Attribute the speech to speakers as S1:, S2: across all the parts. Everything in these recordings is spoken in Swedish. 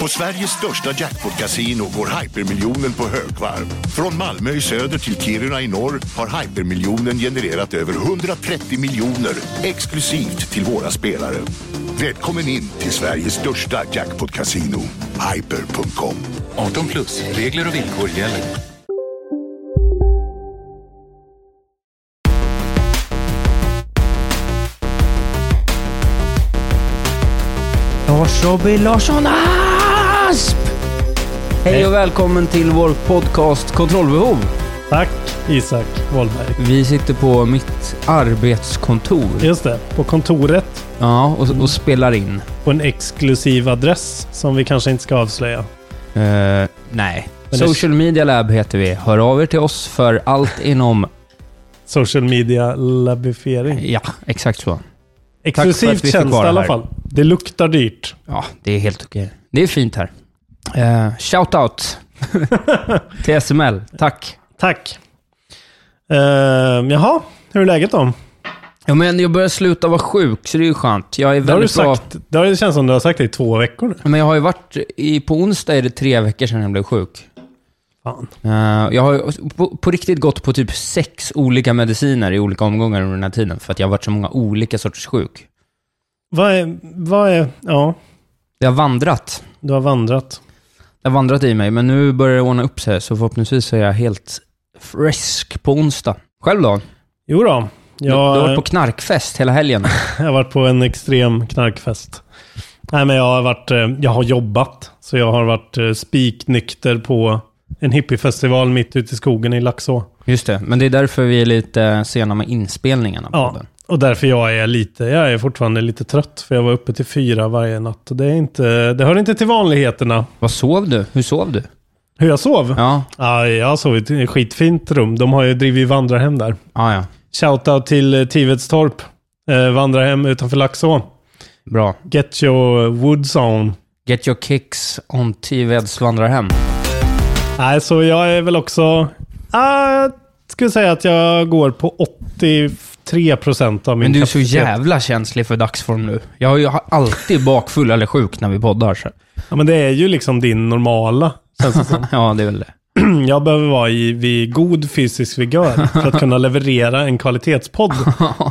S1: På Sveriges största jackpot-kasino går hypermiljonen på högvarv. Från Malmö i söder till Kiruna i norr har hypermiljonen genererat över 130 miljoner exklusivt till våra spelare. Välkommen in till Sveriges största jackpot-kasino, hyper.com.
S2: 18 plus, regler och villkor gäller.
S3: Lars Robby Larsson Asp! Hej och välkommen till vår podcast Kontrollbehov.
S4: Tack Isak Wahlberg.
S3: Vi sitter på mitt arbetskontor
S4: Just det, på kontoret
S3: ja, och, och spelar in.
S4: på en exklusiv adress som vi kanske inte ska avslöja.
S3: Eh, nej.
S4: det-
S3: Social Media Lab heter vi. Hör av er till oss för allt inom...
S4: Social media labifiering.
S3: Ja, exakt så. för att vi
S4: Exklusivt
S3: fick
S4: tjänst i
S3: vara
S4: alla
S3: här.
S4: fall. Det luktar dyrt.
S3: Ja, det är helt okej. Det är fint här. Uh, Shoutout till SML. Tack.
S4: Tack. Uh, jaha, hur är läget då?
S3: Ja, men jag börjar sluta vara sjuk, så det är ju skönt. Jag är
S4: Det har du
S3: väldigt bra...
S4: sagt. Det har- det känns som du har sagt det i två veckor nu.
S3: Men jag har ju varit... I, på onsdag är det tre veckor sedan jag blev sjuk.
S4: Fan.
S3: Eh, jag har ju på, på riktigt gått på typ sex olika mediciner i olika omgångar under den här tiden för att jag har varit så många olika sorters sjuk.
S4: Vad är, vad är... Ja,
S3: Jag har vandrat.
S4: du har vandrat.
S3: Jag har vandrat i mig, men nu börjar det ordna upp sig så förhoppningsvis är jag helt frisk på onsdag. Själv då?
S4: Jo då.
S3: Du, du har varit
S4: Jag,
S3: på knarkfest hela helgen.
S4: jag har varit på en extrem knarkfest. Nej, men jag har varit... eh, Jag har jobbat. Så jag har varit eh, spiknykter på en hippiefestival mitt ute i skogen i Laxå.
S3: Just det, men det är därför vi är lite sena med inspelningarna på
S4: Ja,
S3: den.
S4: och därför jag är lite... Jag är fortfarande lite trött. För jag var uppe till fyra varje natt. Och det är inte... Det hör inte till vanligheterna.
S3: Vad sov du? Hur sov du?
S4: Hur jag sov?
S3: Ja,
S4: Ja, jag har sovit i ett skitfint rum. De har ju drivit vandrarhem där.
S3: ah, ja, ja.
S4: Shoutout till eh, Tivetstorp. Eh, vandrarhem utanför Laxå.
S3: Bra.
S4: Get your woods on.
S3: Get your kicks on Tiveds vandrarhem.
S4: Nej, så jag är väl också... Ah, jag skulle säga att jag går på 83 procent av min
S3: Men du är så
S4: kapacitet.
S3: jävla känslig för dagsform nu. Jag har ju alltid bakfull eller sjuk när vi poddar. Så.
S4: Ja, men det är ju liksom din normala. känns det som.
S3: Ja, det är väl det.
S4: Jag behöver vara i vid god fysisk vigör för att kunna leverera en kvalitetspodd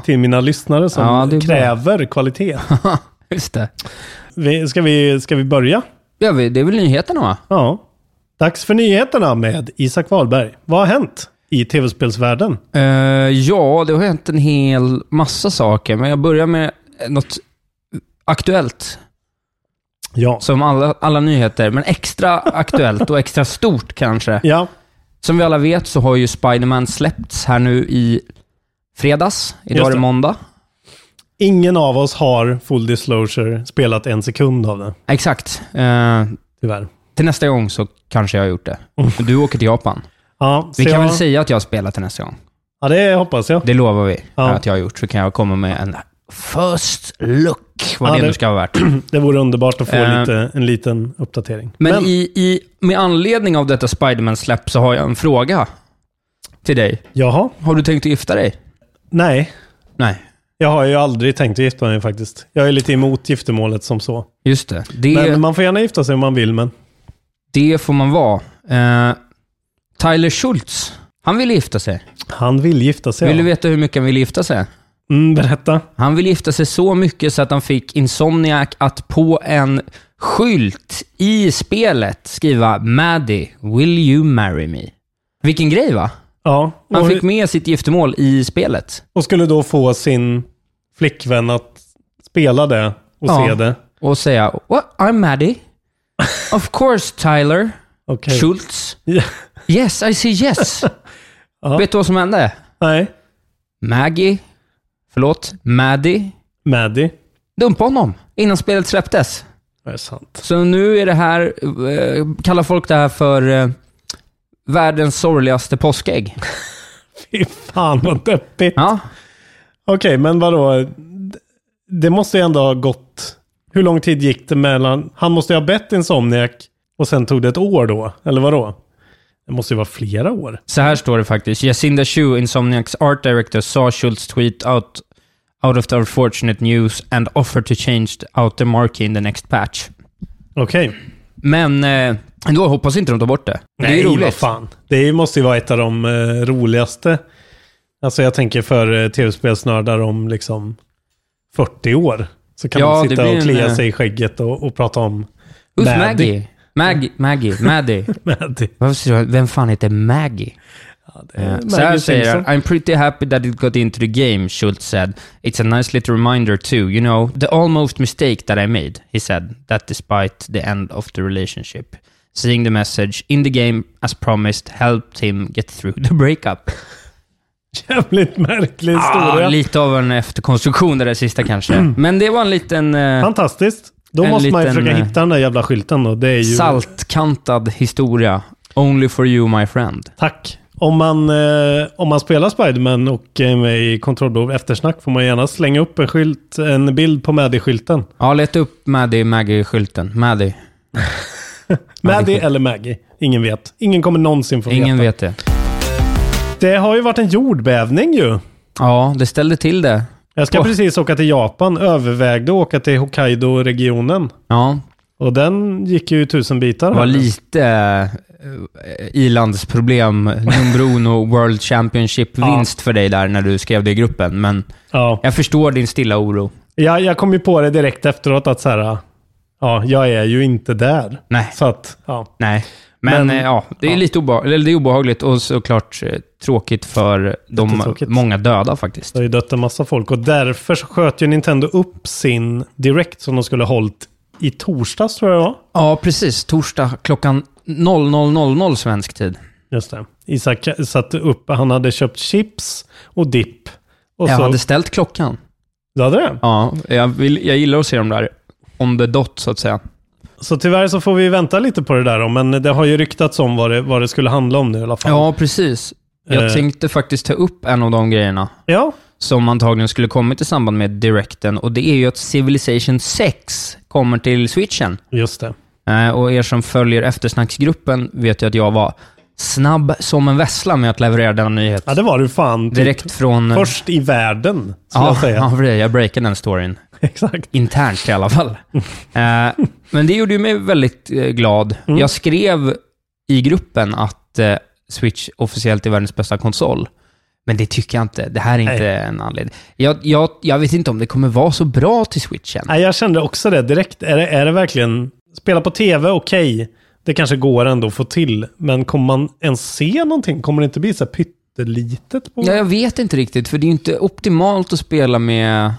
S4: till mina lyssnare som
S3: Ja, det är bra.
S4: kräver kvalitet.
S3: Just det.
S4: Vi- Ska vi, ska vi börja?
S3: Ja, vi- det är väl nyheterna va?
S4: Ja. Dags för nyheterna med Isak Wahlberg. Vad har hänt i tv-spelsvärlden?
S3: Eh, ja, det har hänt en hel massa saker, men jag börjar med något aktuellt.
S4: Ja.
S3: Som alla, alla nyheter, men extra aktuellt och extra stort kanske.
S4: Ja,
S3: Som vi alla vet så har ju Spider-Man släppts här nu i fredags.
S4: Just
S3: Idag är det
S4: det.
S3: måndag.
S4: ingen av oss har full disclosure spelat en sekund av det,
S3: Exakt. Eh,
S4: tyvärr.
S3: till nästa gång så kanske jag har gjort det. Du åker till Japan.
S4: Ja,
S3: Vi
S4: så
S3: kan
S4: jag,
S3: väl Mm. säga att jag har spelat till nästa gång.
S4: Ja, det hoppas jag.
S3: Det lovar vi
S4: Ja.
S3: att jag har gjort. Så kan jag komma med en first look, vad
S4: Ja,
S3: det,
S4: det-
S3: nu ska ha varit.
S4: Det vore underbart att få
S3: Eh.
S4: lite, en liten uppdatering.
S3: Men,
S4: Men-
S3: I, i, med anledning av detta Spiderman-släpp så har jag en fråga till dig.
S4: Jaha?
S3: Har du tänkt att gifta dig?
S4: Nej.
S3: Nej.
S4: Jag har ju aldrig tänkt att gifta mig faktiskt. Jag är lite emot giftermålet som så.
S3: Just det. Det,
S4: Men man får gärna gifta sig om man vill, men...
S3: det får man vara. Eh, Tyler Schultz, han ville gifta sig.
S4: Han vill gifta sig.
S3: Vill du
S4: ja.
S3: veta hur mycket han ville gifta sig?
S4: Mm, berätta.
S3: Han ville gifta sig så mycket så att han fick Insomniac att på en skylt i spelet skriva “Maddie, will you marry me?” Vilken grej va?
S4: Ja.
S3: Han
S4: och-
S3: fick med sitt giftermål i spelet.
S4: Och skulle då få sin flickvän att spela det och
S3: Ja.
S4: se det.
S3: Och säga What? I'm Maddie. Of course Tyler
S4: Okej.
S3: Schultz.
S4: Ja.
S3: Yes, I see yes. Vet du vad som hände?
S4: Nej.
S3: Maggie, förlåt, Maddie
S4: Maddie.
S3: dumpade honom innan spelet släpptes.
S4: Det är sant.
S3: Så nu är det här, eh, kallar folk det här för eh, världens sorgligaste påskägg.
S4: Fy fan vad deppigt.
S3: Ja,
S4: Okej, men vadå? Det måste ju ändå ha gått... Hur lång tid gick det mellan... Han måste ju ha bett Insomniac och sen tog det ett år då, eller vadå? Det måste ju vara flera år.
S3: så här står det faktiskt. Jacinda Chu, Insomniacs art director, saw Schultz tweet out, out of the unfortunate news and offered to change out the marquee in the next patch.
S4: Okej.
S3: Men eh, ändå hoppas inte de tar bort det. det är ju
S4: vad
S3: roligt.
S4: fan. Det måste ju vara ett av de eh, roligaste. Alltså jag tänker för eh, tv-spelsnördar om liksom 40 år. Så kan
S3: Ja,
S4: de
S3: det
S4: sitta
S3: blir
S4: och klia
S3: en, eh,
S4: sig i skägget och, och prata om
S3: Who's
S4: Maddie.
S3: Maggie? Maggie, Maggie, Maddie.
S4: Maddie.
S3: Varför säger jag- Vem fan heter Maggie? Eh, Så här
S4: Maggie
S3: säger han,
S4: Simpson.
S3: I'm pretty happy that it got into the game, Schultz said. It's a nice little reminder too, you know, the almost mistake that I made, he said, that despite the end of the relationship. Seeing the message in the game as promised helped him get through the breakup.
S4: Jävligt märklig historia.
S3: Ah, lite av en efterkonstruktion det där sista kanske. Men det var en liten eh,
S4: Fantastiskt. Då
S3: En
S4: måste man ju
S3: liten,
S4: försöka
S3: eh,
S4: hitta den där jävla skylten då. Det är ju...
S3: saltkantad historia. Only for you my friend.
S4: Tack. Om man, eh, om man spelar Spiderman och är med i kontrollbehov eftersnack får man gärna slänga upp en skylt, en bild på Maddie-skylten.
S3: Ja, leta upp Maddie Maggie-skylten. Maddie.
S4: Maddie eller Maggie? Ingen vet. Ingen kommer någonsin få
S3: Ingen
S4: veta.
S3: vet det.
S4: Det har ju varit en jordbävning ju.
S3: Ja, det ställde till det.
S4: Jag ska
S3: Åh.
S4: precis åka till Japan. Övervägde att åka till Hokkaido-regionen.
S3: Ja,
S4: Och den gick ju i tusen bitar.
S3: det var lite eh, ilandsproblem, nummer uno World Championship-vinst för dig där när du skrev det i gruppen. Men
S4: Ja.
S3: jag förstår din stilla oro.
S4: Jag, jag kom ju på det direkt efteråt att så här, ja, jag är ju inte där.
S3: Nej.
S4: Så att, ja.
S3: Nej. Men,
S4: Men-
S3: eh, ja, det är
S4: ja.
S3: lite obeha- eller det är obehagligt och såklart eh, tråkigt för de
S4: Jättetråkigt.
S3: många döda faktiskt.
S4: Det har ju dött en massa folk och därför så sköt ju Nintendo upp sin Direct som de skulle ha hållit i torsdags tror jag det var.
S3: Ja, precis. Torsdag klockan 00.00 svensk tid.
S4: Just det. Isak satte upp, han hade köpt chips och dipp. Och
S3: jag
S4: så,
S3: hade ställt klockan.
S4: Du hade det?
S3: Ja, jag, vill, jag gillar att se dem där on the dot, så att säga.
S4: Så tyvärr så får vi vänta lite på det där då, men det har ju ryktats om vad det, vad det skulle handla om nu i alla fall.
S3: Ja, precis. Jag
S4: Eh.
S3: tänkte faktiskt ta upp en av de grejerna
S4: ja.
S3: som antagligen skulle kommit i samband med Directen, och det är ju att Civilization 6 kommer till Switchen.
S4: just det.
S3: Eh, Och er som följer eftersnacksgruppen vet ju att jag var snabb som en vessla med att leverera denna nyhet.
S4: Ja, det var du fan. Typ,
S3: Direkt från...
S4: Först i världen, skulle
S3: ja,
S4: jag säga.
S3: Ja, för det, jag breakade den storyn.
S4: Exakt.
S3: internt i alla fall. Eh, men det gjorde ju mig väldigt eh, glad.
S4: Mm.
S3: Jag skrev i gruppen att eh, Switch officiellt är världens bästa konsol. Men det tycker jag inte. Det här är inte
S4: Nej.
S3: en anledning. Jag, jag, jag vet inte om det kommer vara så bra till Switchen.
S4: Nej, jag kände också det direkt. Är det, är det verkligen... Spela på tv, okej. Det kanske går ändå att få till. Men kommer man ens se någonting? Kommer det inte bli så här pyttelitet? På?
S3: Ja, jag vet inte riktigt, för det är ju inte optimalt att spela med...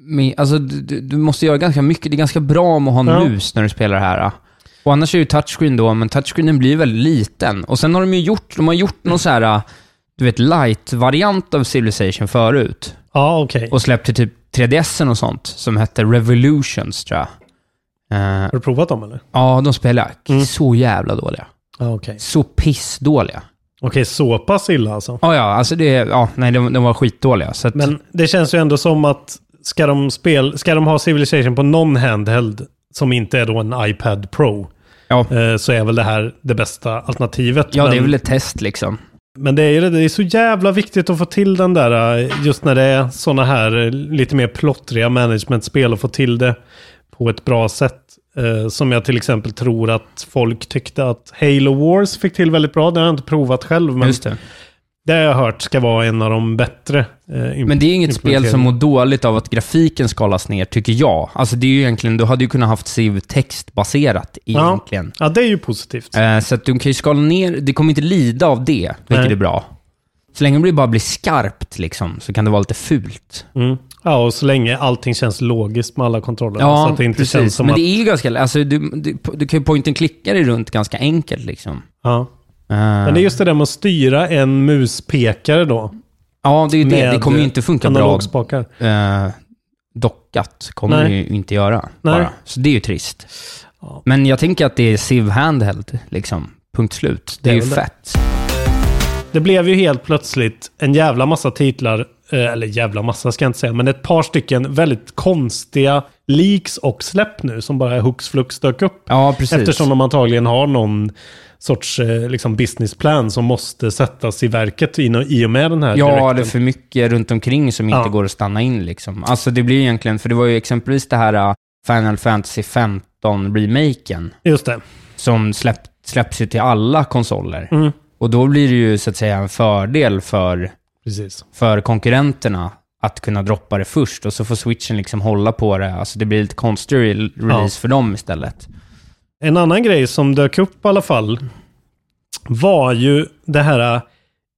S3: med alltså, du, du- du måste göra ganska mycket. Det är ganska bra om att ha en
S4: Ja.
S3: mus när du spelar det här. ah. Och annars är ju touchscreen då, men touchscreenen blir väldigt liten. Och sen har de ju gjort, de har gjort någon så här, ah, du vet, light-variant av Civilization förut.
S4: Ja, okej.
S3: Och släppte typ 3DSen och sånt, som hette Revolutions, tror jag. Eh,
S4: Har du provat dem eller?
S3: ja, de spelar
S4: Mm.
S3: så jävla dåliga.
S4: Ja, okej.
S3: Så pissdåliga.
S4: Okej, så pass illa alltså.
S3: Ja, ja, alltså det, ja, nej, de, de var skitdåliga. Så att,
S4: Men det känns ju ändå som att ska de, spel, ska de ha Civilization på någon handheld som inte är då en iPad Pro
S3: ja.
S4: eh, så är väl det här det bästa alternativet.
S3: Ja,
S4: men,
S3: det är väl ett test liksom.
S4: men det är ju det, det är så jävla viktigt att få till den där, eh, just när det är sådana här eh, lite mer plottriga managementspel och få till det på ett bra sätt. Eh, som jag till exempel tror att folk tyckte att Halo Wars fick till väldigt bra. Det har jag inte provat själv, men
S3: Just det.
S4: det har jag hört ska vara en av de bättre. Eh,
S3: Men det är ju inget spel som
S4: implementeringarna.
S3: mår dåligt av att grafiken skalas ner, tycker jag. Alltså det är ju egentligen, du hade ju kunnat haft Civ textbaserat egentligen.
S4: Ja, ja det är ju positivt.
S3: Eh, så att du kan ju skala ner, det kommer inte lida av det, vilket
S4: Nej.
S3: är bra. Så länge det bara blir skarpt liksom, så kan det vara lite fult.
S4: Mm. Ja, och så länge allting känns logiskt med alla kontroller.
S3: Ja,
S4: så att det inte
S3: precis.
S4: känns som
S3: Men
S4: att...
S3: det är ju ganska... Alltså, du, du, du kan ju point and klicka dig runt ganska enkelt liksom.
S4: Ja.
S3: Eh,
S4: Men det är just det där med att styra en muspekare då.
S3: ja, det är ju det.
S4: med
S3: Det kommer ju inte funka bra
S4: analogspakar.
S3: eh, dockat kommer
S4: Nej.
S3: det ju inte göra.
S4: Nej.
S3: Bara. Så det är ju trist.
S4: Ja.
S3: Men jag tänker att det är Civ Handheld, liksom. Punkt slut. Det är
S4: Det
S3: ju
S4: är väl det.
S3: fett.
S4: Det blev ju helt plötsligt en jävla massa titlar, eh, eller jävla massa ska jag inte säga, men ett par stycken väldigt konstiga leaks och släpp nu som bara hux flux dök upp.
S3: Ja, precis.
S4: Eftersom de antagligen har någon sorts eh, liksom businessplan som måste sättas i verket in- i och med den här
S3: Ja,
S4: directen.
S3: det är för mycket runt omkring som inte
S4: Ja.
S3: går att stanna in liksom. Alltså det blir ju egentligen, för det var ju exempelvis det här äh, Final Fantasy 15-remaken
S4: Just det.
S3: som släpp, släpps ju till alla konsoler.
S4: Mm.
S3: Och då blir det ju så att säga en fördel för,
S4: Precis.
S3: för konkurrenterna att kunna droppa det först och så får switchen liksom hålla på det. Alltså det blir lite konstig re- release för dem istället.
S4: En annan grej som dök upp i alla fall var ju det här eh,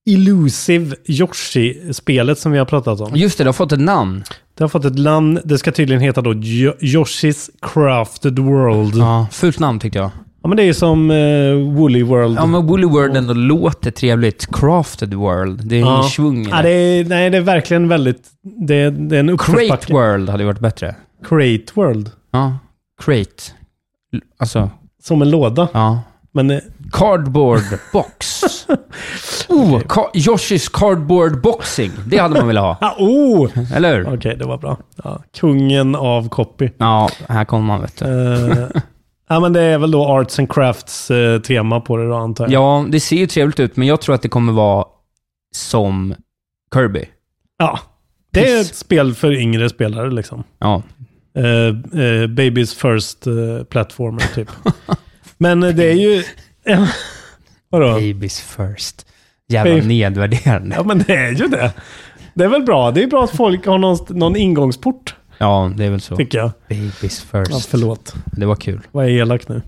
S4: Illusive Yoshi-spelet som vi har pratat om.
S3: Just det, det har fått ett namn.
S4: Det har fått ett namn. Det ska tydligen heta då Jo- Yoshi's Crafted World. Ja,
S3: Ja, fult namn tyckte jag.
S4: men det är ju som eh, Woolly World.
S3: Ja, men Woolly World ändå låter trevligt. Crafted World. Det är ingen svung i
S4: ja, det är, Nej, det är verkligen väldigt... Det, det är en
S3: Crate
S4: uppförsbacke.
S3: World hade ju varit bättre.
S4: Crate World.
S3: Ja, crate. L- Alltså,
S4: Som en låda.
S3: ja.
S4: Men eh,
S3: Cardboard box. oh, ka- Yoshis cardboard boxing. Det hade man velat ha.
S4: Ah, oh! Okej,
S3: Eller hur?
S4: det var bra. Ja, kungen av copy.
S3: Ja, här kommer man vet du.
S4: Eh, ja, men det är väl då Arts and Crafts eh, tema på det då, antar jag.
S3: Ja, det ser ju trevligt ut, men jag tror att det kommer vara som Kirby.
S4: ja. Det är
S3: Piss.
S4: ett spel för yngre spelare liksom.
S3: Ja.
S4: Eh, eh, baby's first eh, platformer typ. Men eh, det är ju... vadå?
S3: Babies first. Jävla
S4: Babe.
S3: nedvärderande.
S4: Ja men det är ju det. Det är väl bra. Det är bra att folk har någon, någon ingångsport
S3: Ja, det är väl så.
S4: tycker jag.
S3: Babies
S4: Ja,
S3: first.
S4: förlåt.
S3: Det var kul.
S4: Vad är elak nu?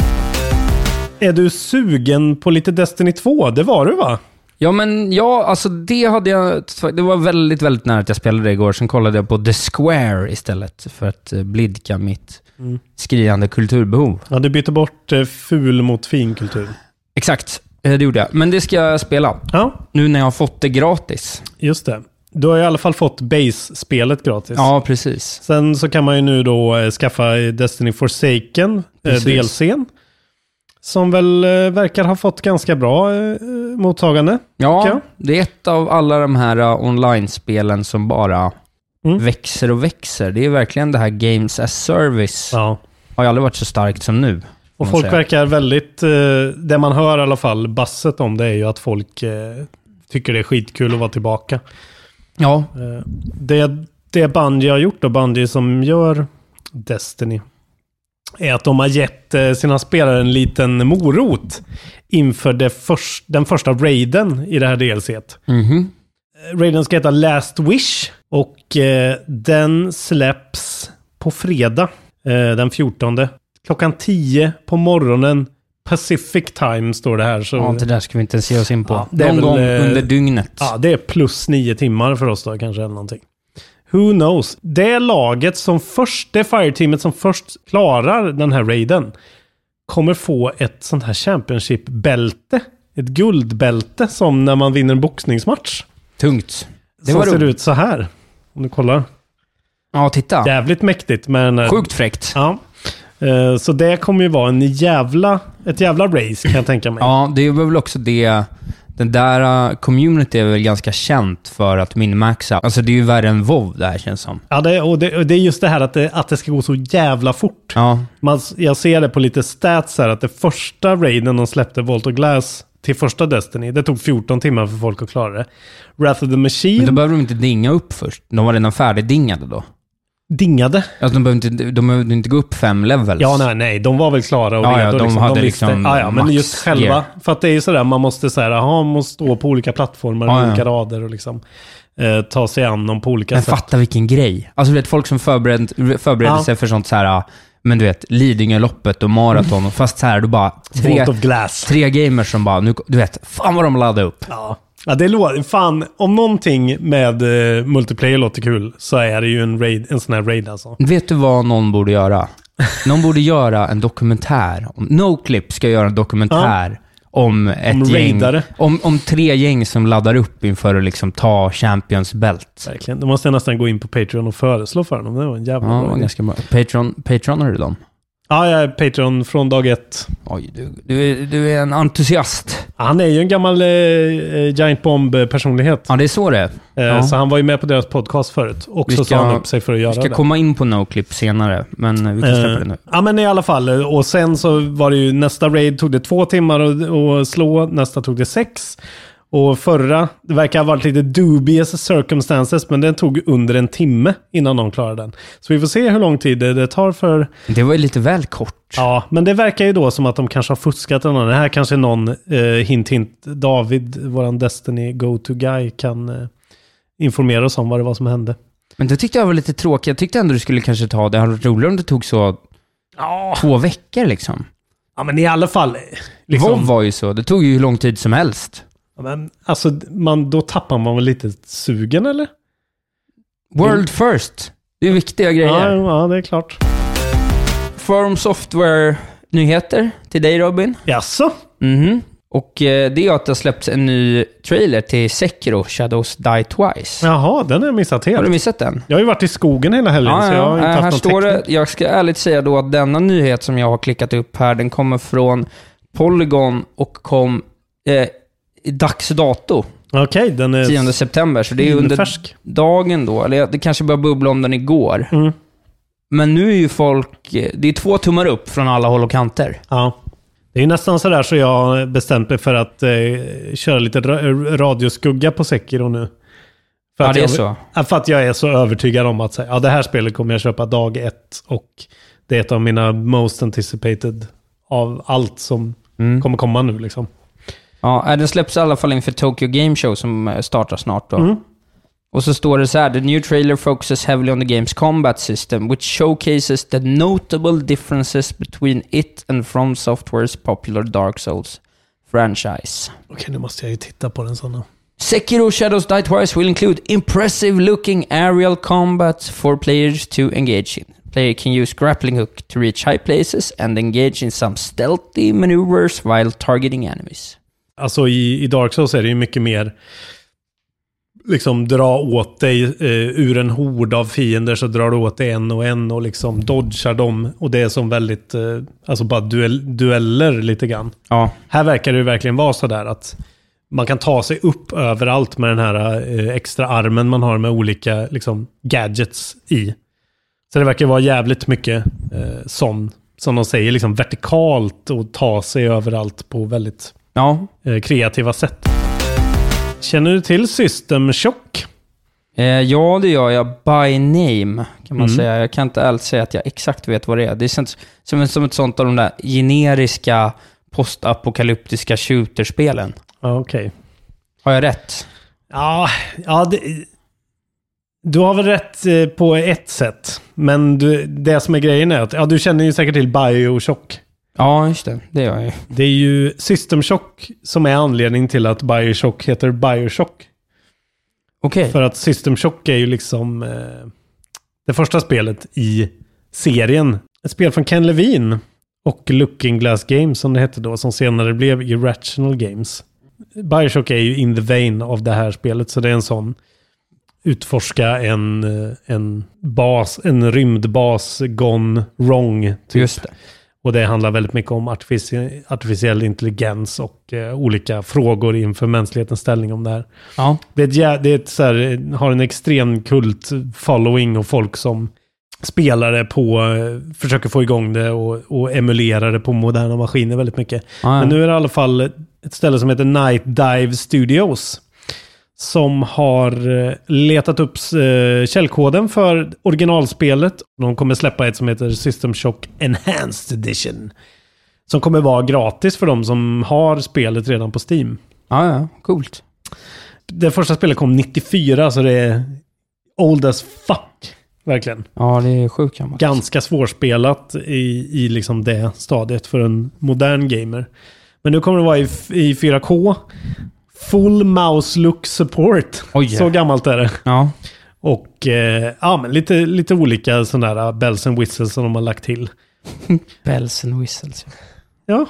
S4: Är du sugen på lite Destiny 2? Det var du va?
S3: Ja, men ja, alltså det hade jag... Det var väldigt, väldigt nära att jag spelade det igår. Sen kollade jag på The Square istället för att eh, blidka mitt
S4: Mm.
S3: skriande kulturbehov.
S4: Ja, du bytte bort eh, ful mot finkultur.
S3: Exakt, eh, det gjorde jag. Men det ska jag spela.
S4: Ja,
S3: Nu när jag har fått det gratis.
S4: just det. Du har i alla fall fått base-spelet gratis.
S3: Ja, precis.
S4: Sen så kan man ju nu då eh, skaffa Destiny Forsaken, eh,
S3: Precis.
S4: DLCn. Som väl eh, verkar ha fått ganska bra eh, mottagande. tycker
S3: Ja,
S4: jag.
S3: det är ett av alla de här eh, online-spelen som bara
S4: Mm.
S3: växer och växer. Det är verkligen det här Games as Service.
S4: Ja.
S3: Har ju aldrig varit så starkt som nu. får
S4: Och
S3: man
S4: folk
S3: säga.
S4: verkar väldigt, eh, det man hör i alla fall, basset om det är ju att folk eh, tycker det är skitkul att vara tillbaka.
S3: Ja,
S4: Eh, det, det Bungie har gjort och Bungie som gör Destiny är att de har gett eh, sina spelare en liten morot inför det förs- den första raiden i det här DLCt.
S3: mhm.
S4: Eh, Raiden ska heta Last Wish och eh, den släpps på fredag eh, den 14. Klockan 10 på morgonen Pacific Time står det här. Så,
S3: ja, det där ska vi inte ens ge oss in på.
S4: Ja, det är
S3: Någon
S4: väl,
S3: gång
S4: eh,
S3: under dygnet.
S4: Ja, det är plus nio timmar för oss då kanske eller någonting. Who knows? Det laget som först, det fireteamet som först klarar den här raiden kommer få ett sånt här Championship-bälte. Ett guldbälte som när man vinner en boxningsmatch.
S3: Tungt. Det
S4: Det som
S3: var
S4: ser
S3: roligt.
S4: ut så här. Om du kollar.
S3: Ja, titta.
S4: Jävligt mäktigt men... eh,
S3: Sjukt fräckt. Ja.
S4: Ja. Eh, Så det kommer ju vara en jävla, ett jävla race kan jag tänka mig.
S3: det var väl också det... Den där uh, community är väl ganska känt för att minmaxa. Alltså det är ju värre än WoW det här känns som.
S4: Ja, det, och, det, och det är just det här att det, att det ska gå så jävla fort.
S3: Ja,
S4: Man, jag ser det på lite stats här att det första raiden de släppte, Volt och Glass, till första Destiny, det tog 14 timmar för folk att klara det. Wrath of the Machine
S3: men då behöver de inte dinga upp först. De var redan färdigdingade då.
S4: dingade.
S3: Alltså de behövde inte, de behövde inte gå upp fem levels.
S4: Ja, nej, nej, de var väl klara och
S3: Ja, ja,
S4: redo.
S3: de
S4: liksom.
S3: hade
S4: visste.
S3: liksom
S4: ja, ja, men
S3: max
S4: just själva.
S3: gear.
S4: För att det är ju sådär, man måste så här, aha, man måste stå på olika plattformar,
S3: Ja, ja.
S4: olika rader och liksom eh, ta sig an dem på olika
S3: Men
S4: sätt.
S3: fatta vilken grej. Alltså du vet, folk som förbered, förbereder
S4: Ja.
S3: sig för sånt så här, ah, men du vet, Lidingöloppet och maraton. och Fast så här, då bara tre,
S4: Vault of Glass.
S3: tre gamers som bara, nu, du vet, fan vad de laddade upp.
S4: Ja. Ja, det låter... Fan, om någonting med eh, multiplayer låter kul så är det ju en, raid, en sån här raid alltså.
S3: Vet du vad någon borde göra? Någon borde göra en dokumentär. om- Noclip ska göra en dokumentär om ett
S4: Om
S3: gäng.
S4: raidare.
S3: Om, om tre gäng som laddar upp inför att liksom ta Champions belt.
S4: Verkligen. Då måste jag nästan gå in på Patreon och föreslå för dem. Det var en jävla
S3: Ja, det
S4: bra
S3: var
S4: idé.
S3: ganska bra. Patreon, Patreonar du dem?
S4: Ja, jag är Patreon från dag ett.
S3: Oj, du, du, är, du är en entusiast.
S4: Han är ju en gammal eh, eh, Giant Bomb-personlighet.
S3: Ja, det är så det är.
S4: Eh,
S3: Ja.
S4: Så han var ju med på deras podcast förut. Och
S3: Vi
S4: så
S3: ska-
S4: sa han upp sig för att
S3: Vi
S4: göra
S3: ska
S4: det.
S3: komma in på Noclip senare, men eh, vi kan släppa
S4: Eh,
S3: det nu.
S4: Ja men i alla fall. eh, Och sen så var det ju nästa raid tog det två timmar att- att slå. Nästa tog det sex. Och förra, det verkar ha varit lite dubious circumstances, men den tog under en timme innan de klarade den. Så vi får se hur lång tid det, det tar för...
S3: Det var ju lite väl kort.
S4: Ja, men det verkar ju då som att de kanske har fuskat eller något. Det här kanske någon, eh, hint hint, David, våran Destiny go-to-guy, kan eh, informera oss om vad det var som hände.
S3: Men det tyckte jag var lite tråkigt. Jag tyckte ändå du skulle kanske ta det. Det hade varit roligare om det tog så två veckor liksom.
S4: Ja, men i alla fall. eh, Liksom,
S3: WoW var ju så. Det tog ju hur lång tid som helst.
S4: Ja, Men, alltså, man, då tappar man väl lite sugen eller?
S3: World first. Det är viktiga
S4: Mm. Ja,
S3: grejer.
S4: ja, det är klart.
S3: Forum Software-nyheter till dig Robin.
S4: Jaså?
S3: Mhm. Och eh, det är att det har släppts en ny trailer till Sekiro, Shadows Die Twice.
S4: Jaha, den har jag missat
S3: Har du
S4: helt.
S3: missat den?
S4: Jag har ju varit i skogen hela helgen, så jag har inte
S3: Eh,
S4: haft
S3: här
S4: någon
S3: står
S4: täckning.
S3: det, jag ska ärligt säga då att denna nyhet som jag har klickat upp här, den kommer från Polygon och kom eh, i dags dato,
S4: Okej, den är...
S3: 10 september. Så det är under
S4: Finfärsk.
S3: dagen då, eller det kanske började bubbla om den igår.
S4: Mm.
S3: Men nu är ju folk, eh, det är två tummar upp från alla håll och kanter.
S4: Ja. Det är ju nästan sådär så jag bestämt mig för att eh, köra lite ra- radioskugga på Sekiro nu. För
S3: Ja,
S4: att
S3: det är
S4: jag,
S3: så.
S4: Ja, För att jag är så övertygad om att så här, ja, det här spelet kommer jag köpa dag ett och det är ett av mina most anticipated av allt som
S3: Mm.
S4: kommer komma nu. Liksom.
S3: Ja, eh, den släpps i alla fall inför Tokyo Game Show som eh, startar snart då. Och så står det så här, the new trailer focuses heavily on the game's combat system, which showcases the notable differences between it and From Softwares popular Dark Souls franchise.
S4: Okej, nu måste jag ju titta på den sådana.
S3: Sekiro Shadows Die Twice will include impressive looking aerial combat for players to engage in. Player can use grappling hook to reach high places and engage in some stealthy maneuvers while targeting enemies.
S4: Alltså i, i Dark Souls är det ju mycket mer liksom dra åt dig eh, ur en hord av fiender så drar du åt dig en och en och liksom dodgar dem. Och det är som väldigt, eh, alltså bara duell, dueller lite grann.
S3: Ja,
S4: Här verkar det ju verkligen vara sådär att man kan ta sig upp överallt med den här eh, extra armen man har med olika liksom, gadgets i. Så det verkar vara jävligt mycket eh, sån, som de säger, liksom vertikalt och ta sig överallt på väldigt
S3: ja.
S4: eh, kreativa sätt. Känner du till System Shock?
S3: Eh, ja, det gör jag. By name, kan man
S4: Mm.
S3: säga. Jag kan inte alls säga att jag exakt vet vad det är. Det känns som, som ett sånt av de där generiska postapokalyptiska shooterspelen.
S4: Ja, okej.
S3: Har jag rätt?
S4: Ja, ja det, du har väl rätt eh, på ett sätt. Men du, det som är grejen är att ja, du känner ju säkert till Bioshock.
S3: Ja, just det. Det gör jag ju.
S4: Det är ju System Shock som är anledningen till att Bioshock heter Bioshock.
S3: Okej.
S4: För att System Shock är ju liksom eh, det första spelet i serien. Ett spel från Ken Levine och Looking Glass Games som det hette då, som senare blev Irrational Games. Bioshock är ju in the vein av det här spelet, så det är en sån utforska en, eh, en bas, en rymdbas gone wrong. Typ.
S3: Just det.
S4: Och det handlar väldigt mycket om artifici- artificiell intelligens och eh, olika frågor inför mänsklighetens ställning om det här.
S3: Ja.
S4: Det, är ett, jä- det är ett, så här, har en extrem kult following och folk som spelar det på, eh, försöker få igång det och, och emulerar det på moderna maskiner väldigt mycket.
S3: Ja,
S4: Men
S3: ja.
S4: nu är det i alla fall ett ställe som heter Night Dive Studios. Som har eh, letat upp eh, källkoden för originalspelet. De kommer släppa ett som heter System Shock Enhanced Edition. Som kommer vara gratis för de som har spelet redan på Steam.
S3: ja, ja. Coolt.
S4: Det första spelet kom 94, så det är old as fuck. Verkligen.
S3: Ja, det är sjukt gammalt.
S4: Ganska svårspelat i, i liksom det stadiet för en modern gamer. Men nu kommer det vara i, f- i 4K. Full mouse look support.
S3: Oj, yeah.
S4: Så gammalt är det.
S3: Ja.
S4: Och eh, ja, men lite, lite olika sådana där bells and whistles som de har lagt till.
S3: Bells and whistles.
S4: Ja.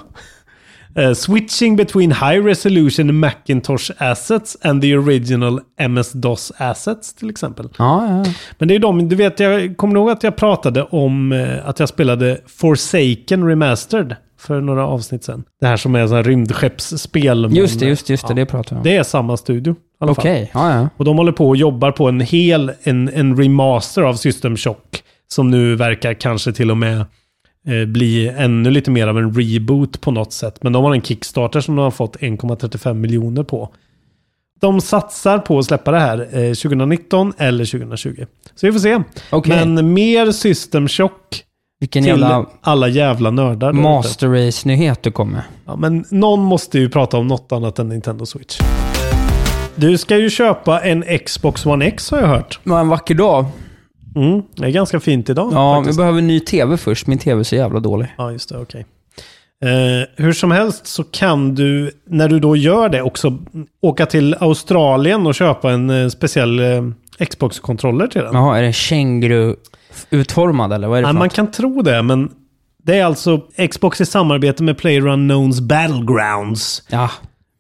S4: Eh, switching between high resolution Macintosh assets and the original MS-DOS assets till exempel.
S3: Ja, ja.
S4: Men det är ju de, du vet, jag kommer ihåg att jag pratade om eh, att jag spelade Forsaken Remastered för några avsnitt sedan. Det här som är så här rymdskeppsspel. men-
S3: Just det, just det, just det. Det pratar vi om.
S4: Det är samma studio. i alla fall.
S3: Okej. Ja, ja.
S4: Och de håller på och jobbar på en hel, en, en remaster av System Shock. Som nu verkar kanske till och med eh, bli ännu lite mer av en reboot på något sätt. Men de har en Kickstarter som de har fått 1,35 miljoner på. De satsar på att släppa det här eh, 2019 eller 2020. Så vi får se.
S3: Okej.
S4: Men mer System Shock
S3: Vilken
S4: till
S3: jävla
S4: alla jävla nördar. där ute.
S3: Master Race-nyhet du kom med.
S4: Ja, men någon måste ju prata om något annat än Nintendo Switch. Du ska ju köpa en Xbox One X har jag hört.
S3: Det var en vacker dag.
S4: Mm, det är ganska fint idag.
S3: Ja, vi
S4: faktiskt.
S3: behöver en ny TV först. Min TV är så jävla dålig.
S4: ja just det. Okej. Eh, hur som helst så kan du, när du då gör det, också åka till Australien och köpa en eh, speciell eh, Xbox-kontroller till den.
S3: Jaha, är den känguru-utformad eller vad är det
S4: Nej,
S3: för
S4: man
S3: något?
S4: kan tro det, men det är alltså Xbox i samarbete med PlayerUnknown's Battlegrounds.
S3: Ja,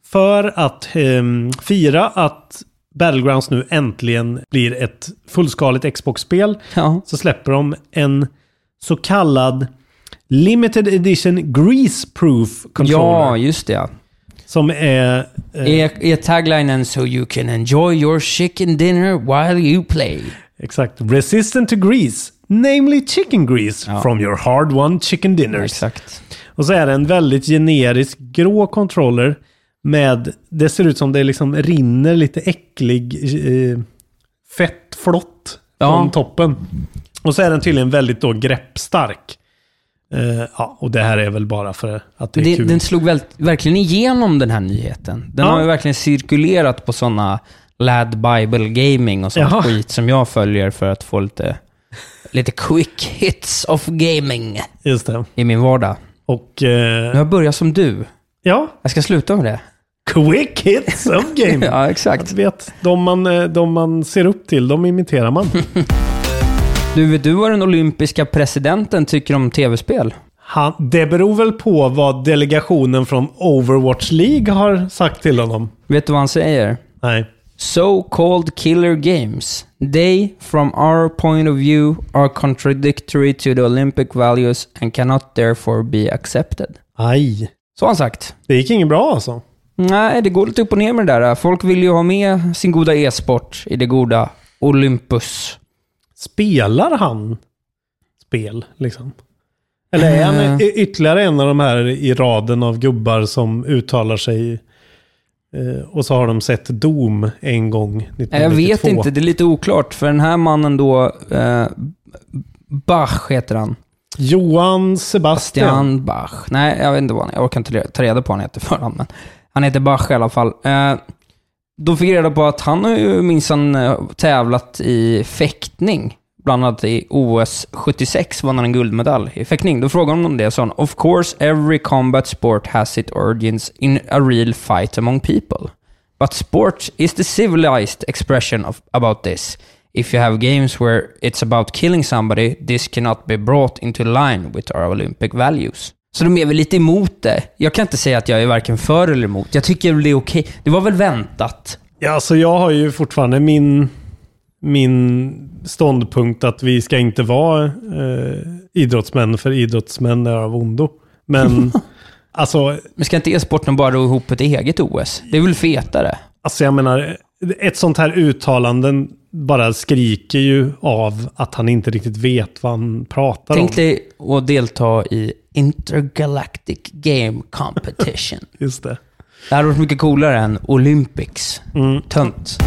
S4: För att ehm, fira att Battlegrounds nu äntligen blir ett fullskaligt Xbox-spel
S3: ja.
S4: så släpper de en så kallad Limited Edition Grease Proof
S3: ja,
S4: Controller.
S3: just det. ja.
S4: Som är... Eh,
S3: Är, är taglinen “So you can enjoy your chicken dinner while you play”?
S4: exakt. Resistant to grease. Namely chicken grease
S3: Ja.
S4: from your hard won chicken dinners.
S3: Exakt.
S4: Och så är det en väldigt generisk grå controller med, det ser ut som det liksom rinner lite äcklig eh, fettflott
S3: Ja.
S4: från toppen. Och så är den tydligen väldigt då greppstark. Eh, ja, och det här är väl bara för att det är
S3: Det,
S4: kul.
S3: den slog väl, verkligen igenom den här nyheten. Den
S4: Ja.
S3: har ju verkligen cirkulerat på sådana Lad Bible Gaming och sånt
S4: Jaha.
S3: skit som jag följer för att få lite, lite quick hits of gaming
S4: Just det.
S3: i min vardag.
S4: Och
S3: Men
S4: eh,
S3: jag börjar som du.
S4: ja,
S3: Jag ska sluta med det.
S4: quick hits of game.
S3: Ja,
S4: Jag
S3: exakt.
S4: vet, de man, eh, de man ser upp till, de imiterar man.
S3: Du, vet du vad den olympiska presidenten tycker om tv-spel?
S4: Han, det beror väl på vad delegationen från Overwatch League har sagt till honom.
S3: Vet du vad han säger?
S4: Nej.
S3: So-called killer games. They, from our point of view, are contradictory to the Olympic values and cannot therefore be accepted.
S4: Aj.
S3: Så har han sagt.
S4: Det gick inget bra alltså.
S3: Nej, det går lite upp och ner med det där. Folk vill ju ha med sin goda e-sport i det goda Olympus.
S4: Spelar han spel liksom? Eller är han
S3: Eh.
S4: y- ytterligare en av de här i raden av gubbar som uttalar sig eh, och så har de sett Doom en gång 1992?
S3: Nej, Jag vet inte, det är lite oklart. För den här mannen då, eh, Bach heter han.
S4: Johan Sebastian.
S3: Bastian Bach. Nej, jag vet inte vad han Jag orkar inte ta reda på vad han heter förnamn, men han heter Bach i alla fall. Eh, då fick jag reda på att han har ju minsann eh, tävlat i fäktning. Bland annat i OS 76 vann han en guldmedalj i fäktning. Då frågade de om det, sa han. Of course every combat sport has its origins in a real fight among people. But sport is the civilized expression of, about this. If you have games where it's about killing somebody, this cannot be brought into line with our Olympic values. Så de är väl lite emot det. Jag kan inte säga att jag är varken för eller emot. Jag tycker väl det är okej. Det var väl väntat?
S4: Ja, så jag har ju fortfarande min, min ståndpunkt att vi ska inte vara eh, idrottsmän för idrottsmän är av ondo. Men alltså,
S3: Men ska inte e-sporten bara ro ihop ett eget OS? Det är väl fetare?
S4: alltså jag menar, ett sånt här uttalanden bara skriker ju av att han inte riktigt vet vad han pratar
S3: Tänk
S4: om.
S3: dig att delta i Intergalactic Game Competition.
S4: Just det.
S3: det hade varit mycket coolare än Olympics. Tönt.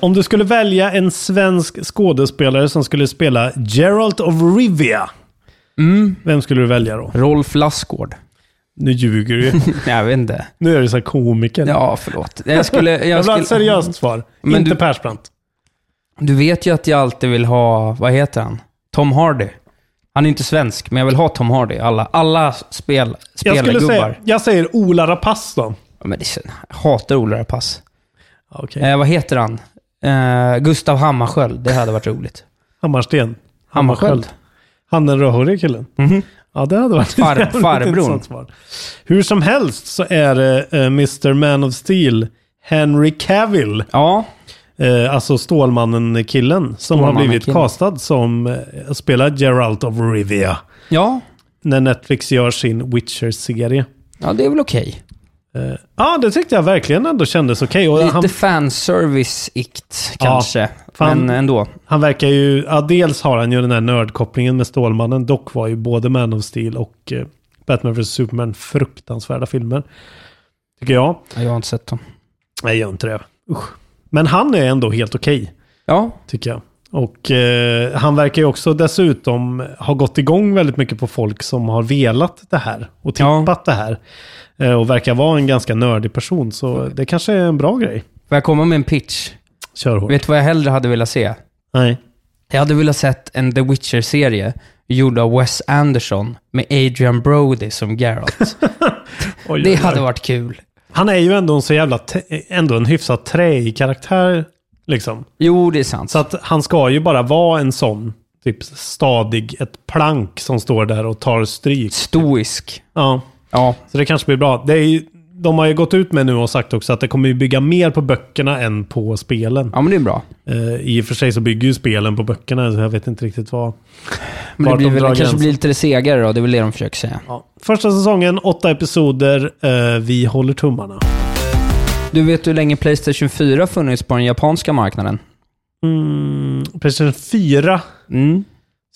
S4: Om du skulle välja en svensk skådespelare som skulle spela Geralt of Rivia,
S3: Mm.
S4: vem skulle du välja då?
S3: Rolf Lassgård.
S4: Nu ljuger du ju.
S3: Nej, jag vet inte.
S4: Nu är du så här komiker.
S3: Ja, förlåt. Jag skulle... Jag
S4: Jag vill ha
S3: skulle
S4: ett seriöst svar.
S3: Men
S4: inte
S3: du-
S4: Persbrandt.
S3: Du vet ju att jag alltid vill ha, vad heter han? Tom Hardy. Han är inte svensk, men jag vill ha Tom Hardy. i Alla, alla spel,
S4: Jag, skulle
S3: spelargubbar.
S4: säga, jag säger Ola Rapace då.
S3: Ja, men det är, så- jag hatar Ola Rapace.
S4: Okej.
S3: Eh, vad heter han? Eh, Gustav Hammarskjöld. Det hade varit roligt.
S4: Hammarsten.
S3: Hammarskjöld?
S4: Han den rödhåriga killen.
S3: Mhm.
S4: Ja, det hade varit
S3: Far-
S4: ett jävligt
S3: farbrorn.
S4: intressant svar. Hur som helst så är det eh, Mr. Man of Steel, Henry Cavill,
S3: Ja,
S4: eh, alltså Stålmannen-killen, som har blivit
S3: Stålmannen-killen.
S4: castad som eh, spelar Geralt of Rivia.
S3: ja.
S4: När Netflix gör sin Witcher-serie.
S3: Ja, det är väl okej.
S4: Ja, det tyckte jag verkligen ändå kändes okej. Och
S3: Lite
S4: han,
S3: fanservice-ikt kanske.
S4: fan.
S3: Men ändå.
S4: han verkar ju... Ja, dels har han ju den här nördkopplingen med Stålmannen. Dock var ju både Man of Steel och eh, Batman vs. Superman fruktansvärda filmer. Tycker jag.
S3: Ja, jag har inte sett dem.
S4: Nej, gör inte det. Usch. Men han är ändå helt okej,
S3: Ja,
S4: tycker jag. Och eh, han verkar ju också dessutom ha gått igång väldigt mycket på folk som har velat det här och
S3: Ja.
S4: tippat det här. Eh, och verkar vara en ganska nördig person, så
S3: Mm.
S4: det kanske är en bra grej.
S3: får jag komma med en pitch?
S4: Kör hårt.
S3: Vet du vad jag hellre hade velat se?
S4: Nej.
S3: Jag hade velat sett en The Witcher-serie gjord av Wes Anderson med Adrian Brody som Geralt.
S4: Oj,
S3: Det
S4: oj,
S3: hade
S4: oj.
S3: varit kul.
S4: Han är ju ändå en så jävla, te- ändå en hyfsat träig karaktär. Liksom.
S3: Jo, det är sant.
S4: Så att han ska ju bara vara en sån, typ stadig, ett plank som står där och tar stryk.
S3: Stoisk.
S4: Ja.
S3: Ja,
S4: Så det kanske blir bra. Det är ju, de har ju gått ut med nu och sagt också att det kommer ju bygga mer på böckerna än på spelen.
S3: ja men det är bra.
S4: Eh, I och för sig så bygger ju spelen på böckerna, så jag vet inte riktigt vad.
S3: Men det
S4: Vart
S3: blir
S4: de
S3: väl,
S4: drar
S3: kanske
S4: gränsen.
S3: blir lite segare då, det är väl det de försöker säga.
S4: Ja. Första säsongen, åtta episoder. Eh, vi håller tummarna.
S3: Du vet hur länge Playstation 4 funnits på den japanska marknaden?
S4: Mm, Playstation 4
S3: Mm.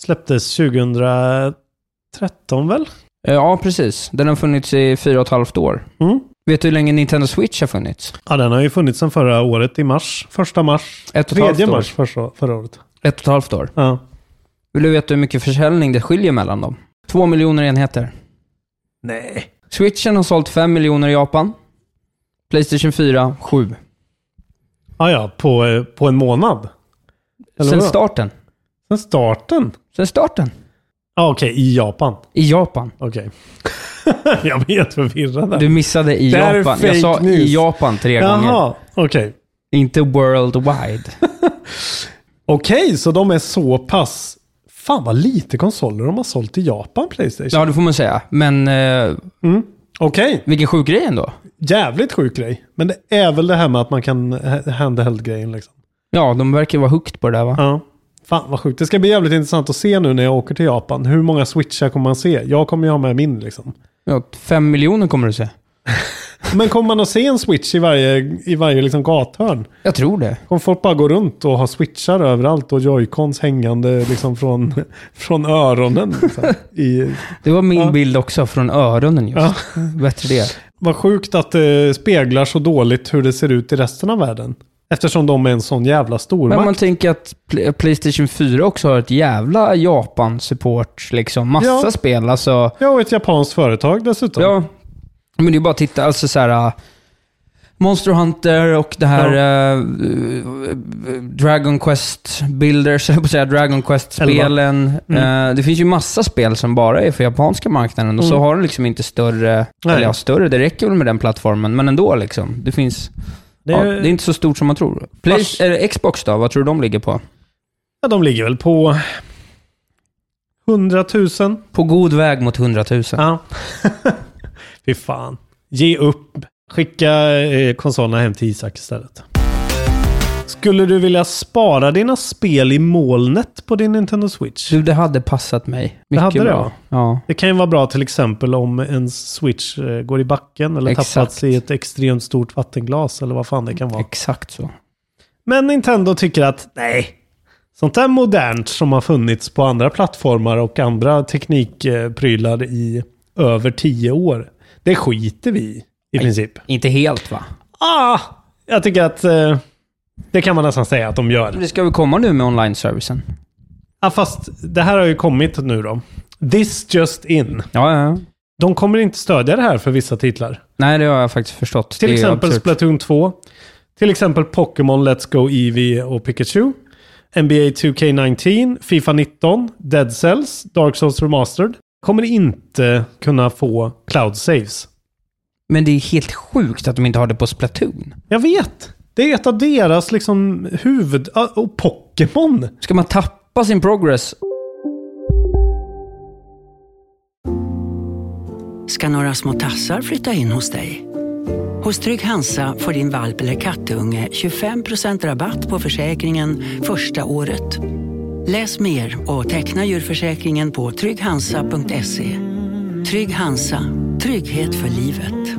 S4: släpptes 2013 väl?
S3: Eh, Ja, precis. Den har funnits i fyra och ett halvt år.
S4: Mm.
S3: Vet du hur länge Nintendo Switch har funnits?
S4: Ja, den har ju funnits sedan förra året i mars. Första mars.
S3: Ett och ett halvt
S4: Tredje
S3: år.
S4: mars förra, förra året.
S3: Ett och ett halvt år.
S4: Ja.
S3: Vill du veta hur mycket försäljning det skiljer mellan dem? Två miljoner enheter.
S4: Nej.
S3: Switchen har sålt fem miljoner i Japan. Playstation 4, sju.
S4: Ja, ja. På, eh, på en månad. Eller
S3: Sen
S4: vadå?
S3: starten.
S4: Sen starten?
S3: Sen starten.
S4: Ja, okej. I Japan.
S3: I Japan.
S4: Okej. jag blir helt förvirrad där.
S3: Du missade i
S4: Det här är
S3: Japan.
S4: fake
S3: Jag sa
S4: news.
S3: i Japan tre gånger.
S4: Jaha, okej.
S3: Inte worldwide.
S4: Okej, så de är så pass... Fan vad lite konsoler de har sålt i Japan, Playstation.
S3: Ja, det får man säga. Men eh,
S4: Okej,
S3: vilken sjuk grej ändå.
S4: jävligt sjuk grej. Men det är väl det här med att man kan ha- handheld-grejen liksom.
S3: Ja, de verkar vara hooked på det där va?
S4: Ja. Fan vad sjukt. Det ska bli jävligt intressant att se nu när jag åker till Japan. Hur många switchar kommer man se? Jag kommer ju ha med min liksom.
S3: Ja, fem miljoner kommer du se.
S4: Men kommer man att se en switch i varje, i varje liksom gathörn?
S3: Jag tror det.
S4: Kommer folk bara gå runt och ha switchar överallt och joycons hängande liksom från, från öronen? Liksom, i,
S3: Det var min bild också från öronen just.
S4: Ja.
S3: Bättre det.
S4: vad sjukt att det speglar så dåligt hur det ser ut i resten av världen. Eftersom de är en sån jävla stormakt.
S3: Men man tänker att Pl- Playstation 4 också har ett jävla Japan-support. Liksom. Massa
S4: Ja.
S3: spel. Alltså,
S4: Ja, och ett japanskt företag dessutom.
S3: ja. Men det är bara att titta. Alltså så här... äh, Monster Hunter och det här äh, Dragon Quest Builders, jag höll på att säga, Dragon Quest-spelen.
S4: Mm.
S3: Äh, det finns ju massa spel som bara är för japanska marknaden och så har de liksom inte större,
S4: Nej.
S3: eller ja, större, det räcker väl med den plattformen, men ändå liksom. Det finns,
S4: Det
S3: ja,
S4: är,
S3: det är inte så stort som man tror.
S4: Fast-
S3: Play, eller Xbox då, vad tror du de ligger på?
S4: ja, de ligger väl på 100 000.
S3: På god väg mot 100 000.
S4: Ja. Fy fan. Ge upp. Skicka eh, konsolerna hem till Isak istället. Skulle du vilja spara dina spel i molnet på din Nintendo Switch?
S3: Du, det hade passat mig. Mycket
S4: hade det,
S3: bra.
S4: va?
S3: Ja.
S4: Det kan ju vara bra till exempel om en Switch eh, går i backen eller
S3: Exakt.
S4: tappats i ett extremt stort vattenglas eller vad fan det kan vara.
S3: exakt så.
S4: Men Nintendo tycker att nej, sånt där modernt som har funnits på andra plattformar och andra teknikprylar i över tio år, det skiter vi i i princip.
S3: Inte helt va?
S4: Ah, jag tycker att eh, det kan man nästan säga att de gör.
S3: Det ska väl komma nu med online-servicen?
S4: Ja, fast det här har ju kommit nu då. This just in.
S3: Ja, ja, ja.
S4: De kommer inte stödja det här för vissa titlar.
S3: Nej, det har jag faktiskt förstått.
S4: Till
S3: Det är
S4: exempel
S3: absurt.
S4: Splatoon 2. Till exempel Pokémon Let's Go Eevee och Pikachu. NBA 2K19, Fifa 19, Dead Cells, Dark Souls Remastered. Kommer inte kunna få cloud saves.
S3: Men det är helt sjukt att de inte har det på Splatoon.
S4: Jag vet! Det är ett av deras liksom huvud... ah, Och Pokémon!
S3: Ska man tappa sin progress?
S5: ska några små tassar flytta in hos dig. Hos Trygg Hansa får din valp eller kattunge 25% rabatt på försäkringen första året. Läs mer och teckna djurförsäkringen på trygghansa.se. Trygg Hansa, trygghet för livet.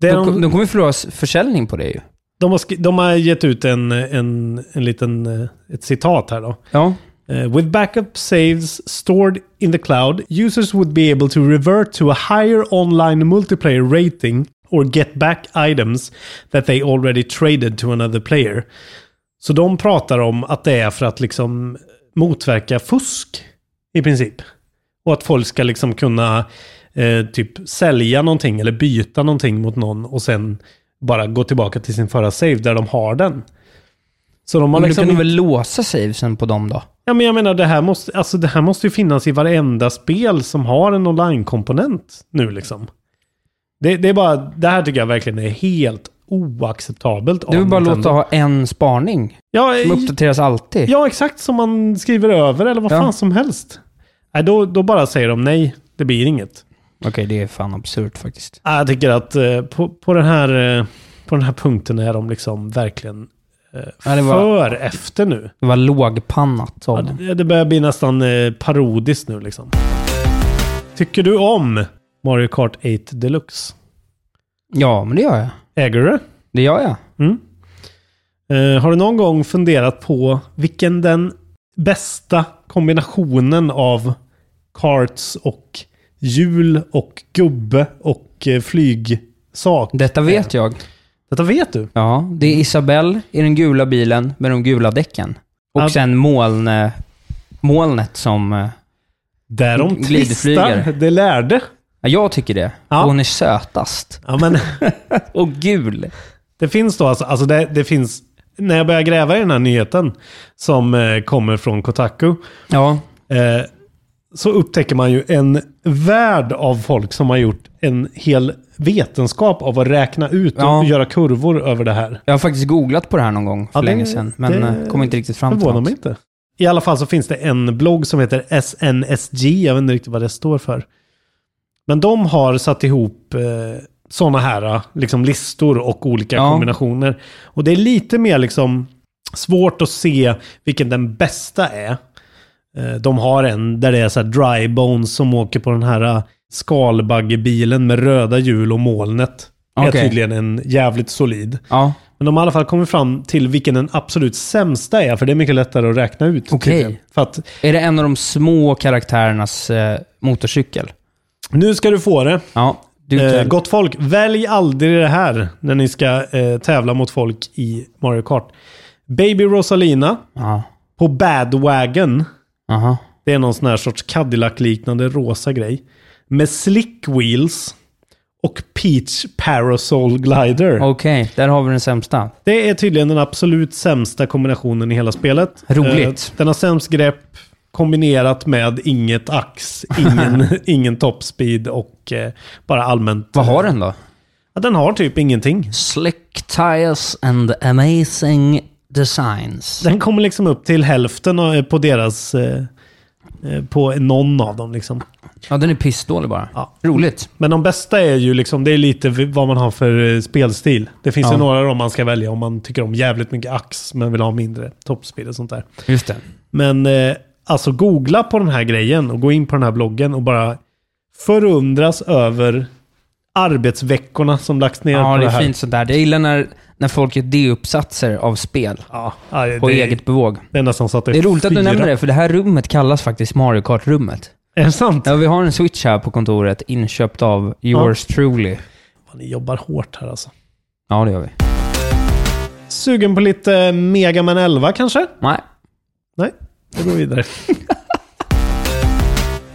S4: Det är
S3: De, kom-
S4: de,
S3: de kommer förlora s- försäljning på det ju.
S4: de, har, skri- de har gett ut en, en, en liten... eh, Ett citat här då.
S3: Ja.
S4: Uh, with backup saves stored in the cloud, users would be able to revert to a higher online multiplayer rating or get back items that they already traded to another player. Så de pratar om att det är för att liksom motverka fusk i princip. Och att folk ska liksom kunna eh, typ sälja någonting eller byta någonting mot någon och sen bara gå tillbaka till sin förra save där de har den. Så de har
S3: Men då
S4: liksom
S3: kan de
S4: inte-
S3: väl låsa savesen på dem då?
S4: Ja, men jag menar, det här, måste, alltså, det här måste ju finnas i varenda spel som har en online-komponent nu liksom. Det, det är bara, det här tycker jag verkligen är helt oacceptabelt. av
S3: Du vill bara
S4: Nintendo.
S3: låta ha en spaning.
S4: Ja,
S3: De
S4: eh,
S3: uppdateras alltid.
S4: ja, exakt som man skriver över eller vad
S3: Ja.
S4: fan som helst. Nej, då, då bara säger de nej, det blir inget.
S3: Okej, det är fan absurt faktiskt.
S4: Ja, Jag tycker att eh, på, på, den här, eh, på den här punkten är de liksom verkligen eh,
S3: Ja, det var-
S4: för efter nu.
S3: Det var lågpannat
S4: Ja,
S3: av dem.
S4: det, det börjar bli nästan eh, parodiskt nu liksom. Tycker du om Mario Kart 8 Deluxe?
S3: Ja, men det gör jag.
S4: Äger du det?
S3: Det gör jag.
S4: Eh, har du någon gång funderat på vilken den bästa kombinationen av karts och hjul och gubbe och eh, flygsak?
S3: Detta vet jag.
S4: Detta vet du.
S3: Ja, det är
S4: Mm.
S3: Isabelle i den gula bilen med de gula däcken. Och
S4: Ja.
S3: sen moln, eh, molnet som... eh,
S4: Där de
S3: Glidflygare.
S4: tvistar. Det lärde.
S3: Ja, jag tycker det.
S4: Ja.
S3: Hon är sötast.
S4: Ja, men...
S3: Och gul.
S4: Det finns då alltså, alltså det, det finns, när jag börjar gräva i den här nyheten som eh, kommer från Kotaku,
S3: Ja,
S4: eh, så upptäcker man ju en värld av folk som har gjort en hel vetenskap av att räkna ut och
S3: Ja.
S4: göra kurvor över det här.
S3: jag har faktiskt googlat på det här någon gång för
S4: Ja, det-
S3: länge sedan. Men
S4: det-
S3: eh, kom inte riktigt fram till
S4: Förvånar
S3: något.
S4: mig inte. I alla fall så finns det en blogg som heter SNSG, jag vet inte riktigt vad det står för. Men de har satt ihop eh, sådana här eh, liksom listor och olika
S3: Ja.
S4: kombinationer. Och det är lite mer liksom svårt att se vilken den bästa är. Eh, de har en där det är så här dry bones som åker på den här eh, skalbaggebilen med röda hjul och molnet. Det
S3: Okej.
S4: är tydligen en jävligt solid.
S3: Ja,
S4: Men de har i alla fall kommit fram till vilken den absolut sämsta är, för det är mycket lättare att räkna ut.
S3: Okej.
S4: tydligen. För att
S3: är det en av de små karaktärernas eh, motorcykel?
S4: nu ska du få det.
S3: Ja, du
S4: Eh,
S3: Ted.
S4: gott folk, välj aldrig det här när ni ska eh, tävla mot folk i Mario Kart. Baby Rosalina
S3: Ja,
S4: på Badwagon.
S3: aha.
S4: Det är någon sån här sorts Cadillac-liknande rosa grej. Med slick wheels och Peach Parasol Glider.
S3: Okej, där har vi den sämsta.
S4: Det är tydligen den absolut sämsta kombinationen i hela spelet.
S3: Roligt.
S4: Eh, Den har sämst grepp kombinerat med inget ax, ingen, ingen toppspeed och eh, bara allmänt...
S3: Vad har den då?
S4: Ja, den har typ ingenting.
S3: Slick tires and amazing designs.
S4: Den kommer liksom upp till hälften av- på deras... eh, eh, På någon av dem liksom.
S3: Ja, den är pissdålig bara.
S4: Ja.
S3: Roligt.
S4: Men de bästa är ju liksom, det är lite v- vad man har för eh, spelstil. Det finns
S3: Ja.
S4: ju några av dem man ska välja om man tycker om jävligt mycket ax men vill ha mindre toppspeed och sånt där.
S3: Just det.
S4: Men eh, alltså googla på den här grejen och gå in på den här bloggen och bara förundras över arbetsveckorna som lagts ner
S3: Ja,
S4: på
S3: det
S4: det
S3: är
S4: här.
S3: fint sånt där. Jag gillar när, när folk gör D-uppsatser av spel.
S4: Ja, det-
S3: på
S4: det-
S3: eget bevåg.
S4: Det är nästan så att det,
S3: Det är roligt att du
S4: fyra.
S3: nämner det, för det här rummet kallas faktiskt Mario Kart-rummet.
S4: Är det sant?
S3: Ja, vi har en switch här på kontoret, inköpt av yours truly.
S4: Fan, Ni jobbar hårt här alltså.
S3: Ja, det gör vi.
S4: Sugen på lite Mega Man 11 kanske?
S3: Nej.
S4: Nej, då går vi vidare.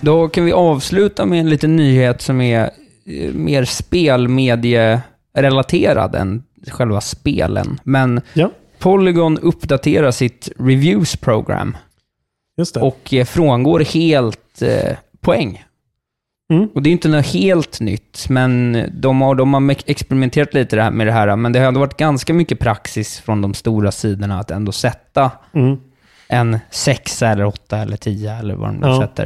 S3: Då kan vi avsluta med en liten nyhet som är eh, mer spelmedierelaterad än själva spelen. Men
S4: Ja.
S3: Polygon uppdaterar sitt reviews program
S4: Just det.
S3: och eh, frångår helt eh, poäng.
S4: Mm.
S3: Och det är inte något helt nytt, men de har, de har mek- experimenterat lite det här- med det här. Men det har ändå varit ganska mycket praxis från de stora sidorna att ändå sätta
S4: Mm.
S3: en sexa eller åtta eller tio eller vad de nu
S4: Ja.
S3: sätter.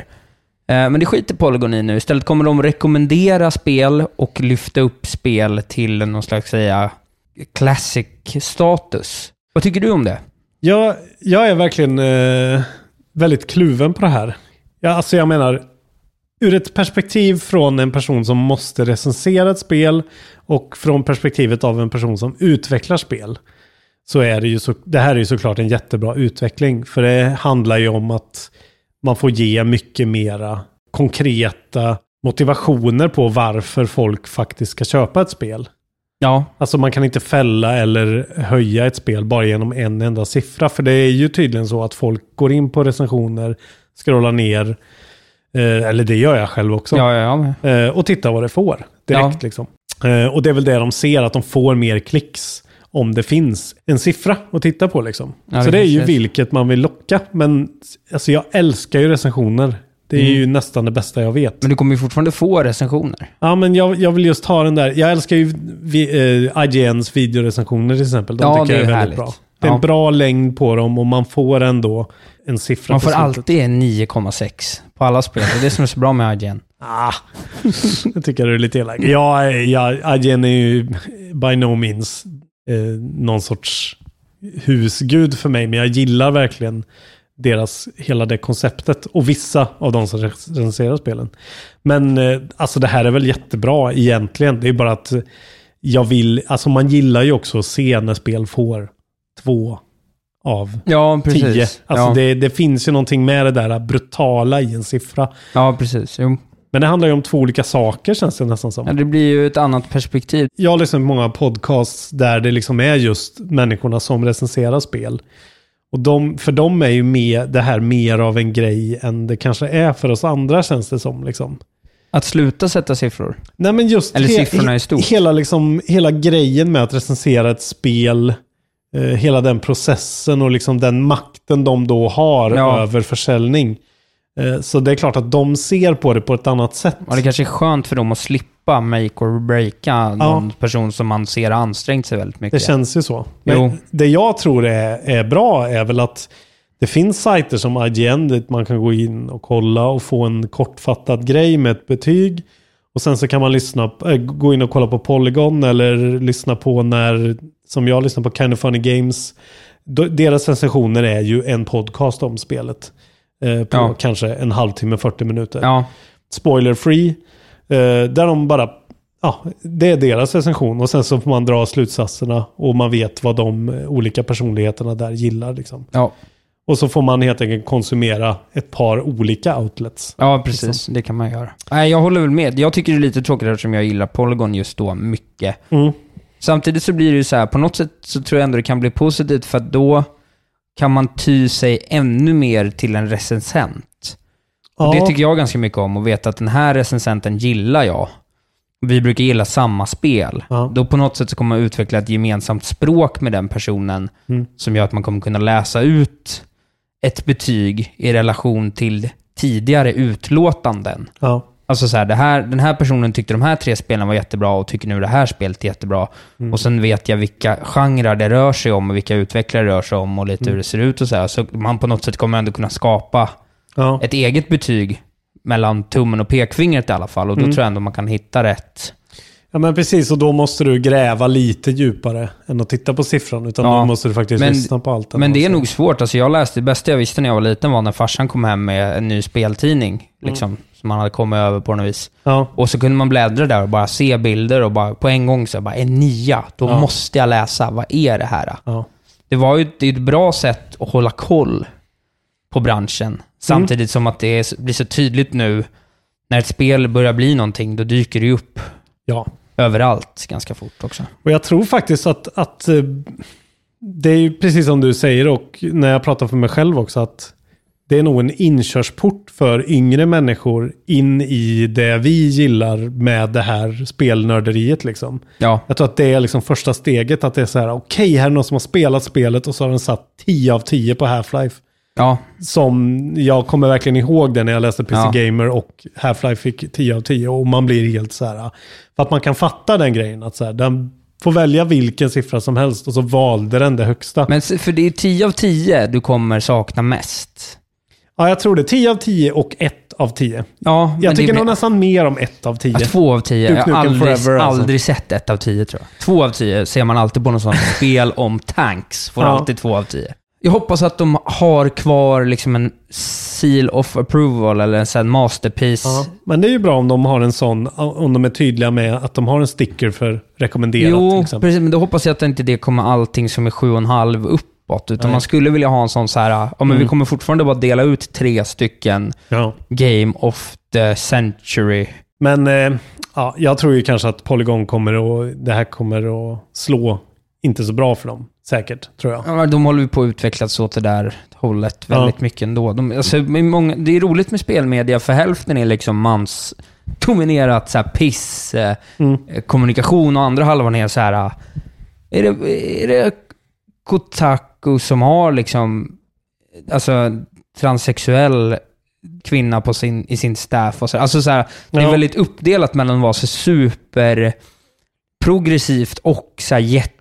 S3: Eh, Men det skiter Polygon i nu. Istället kommer de rekommendera spel och lyfta upp spel till någon slags, säga, classic-status. Vad tycker du om det?
S4: Jag, jag är verkligen eh, väldigt kluven på det här. Ja, alltså jag menar, ur ett perspektiv från en person som måste recensera ett spel och från perspektivet av en person som utvecklar spel. Så är det ju så, det här är ju såklart en jättebra utveckling. För det handlar ju om att man får ge mycket mera konkreta motivationer på varför folk faktiskt ska köpa ett spel.
S3: Ja,
S4: Alltså man kan inte fälla eller höja ett spel bara genom en enda siffra. För det är ju tydligen så att folk går in på recensioner, scrollar ner, eh, eller det gör jag själv också,
S3: ja, ja. ja.
S4: eh, och tittar vad det får direkt.
S3: Ja.
S4: Liksom. Eh, och det är väl det de ser, att de får mer klicks om det finns en siffra att titta på. Liksom.
S3: Ja, det
S4: så det är ju
S3: kanske är så.
S4: vilket man vill locka. Men alltså, jag älskar ju recensioner. Det är
S3: Mm.
S4: ju nästan det bästa jag vet.
S3: Men du kommer ju fortfarande få recensioner.
S4: Ja, men jag, jag vill just ha den där. Jag älskar ju vi, eh, IGNs videorecensioner till exempel. De
S3: Ja,
S4: tycker
S3: det
S4: jag
S3: är
S4: är väldigt
S3: härligt.
S4: bra. Det är
S3: Ja.
S4: en bra längd på dem och man får ändå en siffra
S3: Man
S4: på
S3: får
S4: slutet.
S3: alltid en 9,6 på alla spel. Det är det som är så bra med IGN.
S4: Ah, jag tycker du är lite elak. Ja, eh, ja, IGN är ju by no means eh, någon sorts husgud för mig, men jag gillar verkligen deras, hela det konceptet och vissa av de som recenserar spelen. Men eh, alltså det här är väl jättebra egentligen. Det är bara att jag vill, alltså man gillar ju också att se när spel får två av
S3: Ja, precis.
S4: tio. Alltså
S3: ja.
S4: det, det finns ju någonting med det där brutala i en siffra.
S3: ja, precis. Jo.
S4: Men det handlar ju om två olika saker känns det nästan
S3: Ja,
S4: som.
S3: det blir ju ett annat perspektiv.
S4: Jag har lyssnat på många podcasts där det liksom är just människorna som recenserar spel. Och de, för dem är ju med, det här mer av en grej än det kanske är för oss andra känns det som. Liksom.
S3: Att sluta sätta siffror.
S4: Nej, men just
S3: Eller siffrorna i stort.
S4: Hela, liksom, hela grejen med att recensera ett spel, eh, hela den processen och liksom den makten de då har
S3: Ja.
S4: över försäljning. Eh, så det är klart att de ser på det på ett annat sätt.
S3: Ja, det kanske är skönt för dem att slippa make or breaka någon person som man ser har ansträngt sig väldigt mycket.
S4: Det känns ju så. Men
S3: Jo.
S4: det jag tror är, är bra är väl att det finns sajter som IGN dit man kan gå in och kolla och få en kortfattad grej med ett betyg. Och sen så kan man lyssna, äh, gå in och kolla på Polygon eller lyssna på när, som jag lyssnar på Kind of Funny Games. D- Deras recensioner är ju en podcast om spelet. Eh, på
S3: Ja.
S4: kanske en halvtimme, 40 minuter
S3: ja,
S4: spoiler free. Eh, där de bara, ja, det är deras recension och sen så får man dra slutsatserna och man vet vad de eh, olika personligheterna där gillar. Liksom.
S3: ja,
S4: Och så får man helt enkelt konsumera ett par olika outlets.
S3: ja, precis. Det kan man göra. Nej, jag håller väl med. Jag tycker det är lite tråkigt eftersom jag gillar Polygon just då mycket.
S4: Mm.
S3: Samtidigt så blir det ju så här, på något sätt så tror jag ändå det kan bli positivt för att då kan man ty sig ännu mer till en recensent. Och det tycker jag ganska mycket om, att veta att den här recensenten gillar jag. Vi brukar gilla samma spel.
S4: Ja.
S3: Då på något sätt så kommer man utveckla ett gemensamt språk med den personen
S4: Mm.
S3: som gör att man kommer kunna läsa ut ett betyg i relation till tidigare utlåtanden.
S4: Ja.
S3: Alltså så här, det här, den här personen tyckte de här tre spelen var jättebra och tycker nu det här spelet är jättebra.
S4: Mm.
S3: Och sen vet jag vilka genrer det rör sig om och vilka utvecklare det rör sig om och lite
S4: Mm.
S3: hur det ser ut och så här. Så man på något sätt kommer ändå kunna skapa
S4: Ja.
S3: ett
S4: Mm.
S3: eget betyg mellan tummen och pekfingret i alla fall. Och då tror jag ändå man kan hitta rätt.
S4: Ja men precis, och då måste du gräva lite djupare än att titta på siffran. Utan
S3: Ja,
S4: då måste du faktiskt
S3: men-
S4: lyssna på allt. den
S3: Men
S4: har
S3: det är
S4: sagt.
S3: nog svårt. Alltså jag läste, det bästa jag visste när jag var liten var när farsan kom hem med en ny speltidning.
S4: Mm.
S3: Liksom, Som han hade kommit över på något vis. Och så kunde man bläddra där och bara se bilder och bara på en gång så här bara, en nia, då
S4: Ja.
S3: måste jag läsa. Vad är det här?
S4: Ja.
S3: Det var ju det är ett bra sätt att hålla koll på branschen. Samtidigt som att det är, blir så tydligt nu, när ett spel börjar bli någonting, då dyker det ju upp
S4: Ja.
S3: överallt ganska fort också.
S4: Och jag tror faktiskt att, att eh, det är ju precis som du säger och när jag pratar för mig själv också att det är nog en inkörsport för yngre människor in i det vi gillar med det här spelnörderiet liksom.
S3: Ja.
S4: Jag tror att det är liksom första steget att det är så här, okej här är någon som har spelat spelet och så har den satt 10 av 10 på Half-Life.
S3: Ja.
S4: Som jag kommer verkligen ihåg det när jag läste PC
S3: Ja.
S4: Gamer och Half-Life fick 10 av 10 och man blir helt så här. För att man kan fatta den grejen att så här, den får välja vilken siffra som helst och så valde den det högsta.
S3: Men s- för det är 10 av 10 du kommer sakna mest.
S4: Ja, jag tror det. 10 av 10 och 1 av 10.
S3: Ja, men
S4: jag
S3: det
S4: tycker
S3: är-
S4: nog nästan mer om 1 av 10.
S3: Ja, två av tio.
S4: Duke
S3: Jag har
S4: Nukem
S3: aldrig,
S4: Forever, alltså.
S3: aldrig sett ett av tio tror jag. Två av tio ser man alltid på något sånt spel om tanks. Får
S4: Ja.
S3: alltid två av tio. Jag hoppas att de har kvar liksom en seal of approval eller en sån masterpiece.
S4: Ja, men det är ju bra om de har en sån, om de är tydliga med att de har en sticker för rekommenderat. liksom. till
S3: jo,
S4: exempel.
S3: precis. Men då hoppas jag att inte det kommer allting som är sju och en halv uppåt. Utan
S4: Nej.
S3: man skulle vilja ha en sån så här, ja men vi
S4: Mm.
S3: kommer fortfarande bara dela ut tre stycken
S4: Ja.
S3: Game of the Century.
S4: Men eh, ja, jag tror ju kanske att Polygon kommer att, det här kommer att slå inte så bra för dem. Säkert, tror jag.
S3: Ja, de håller ju på att utvecklas åt det där hållet väldigt
S4: Ja.
S3: mycket ändå. De, alltså, med många, det är roligt med spelmedia, för hälften är liksom mansdominerat så här, piss, eh,
S4: Mm.
S3: eh, kommunikation och andra halvan är så här... ah, Är det, är det Kotaku som har liksom, alltså transsexuell kvinna på sin, i sin staff och så. Alltså så här, det är
S4: Ja.
S3: väldigt uppdelat mellan att vara så super progressivt och så här jätte,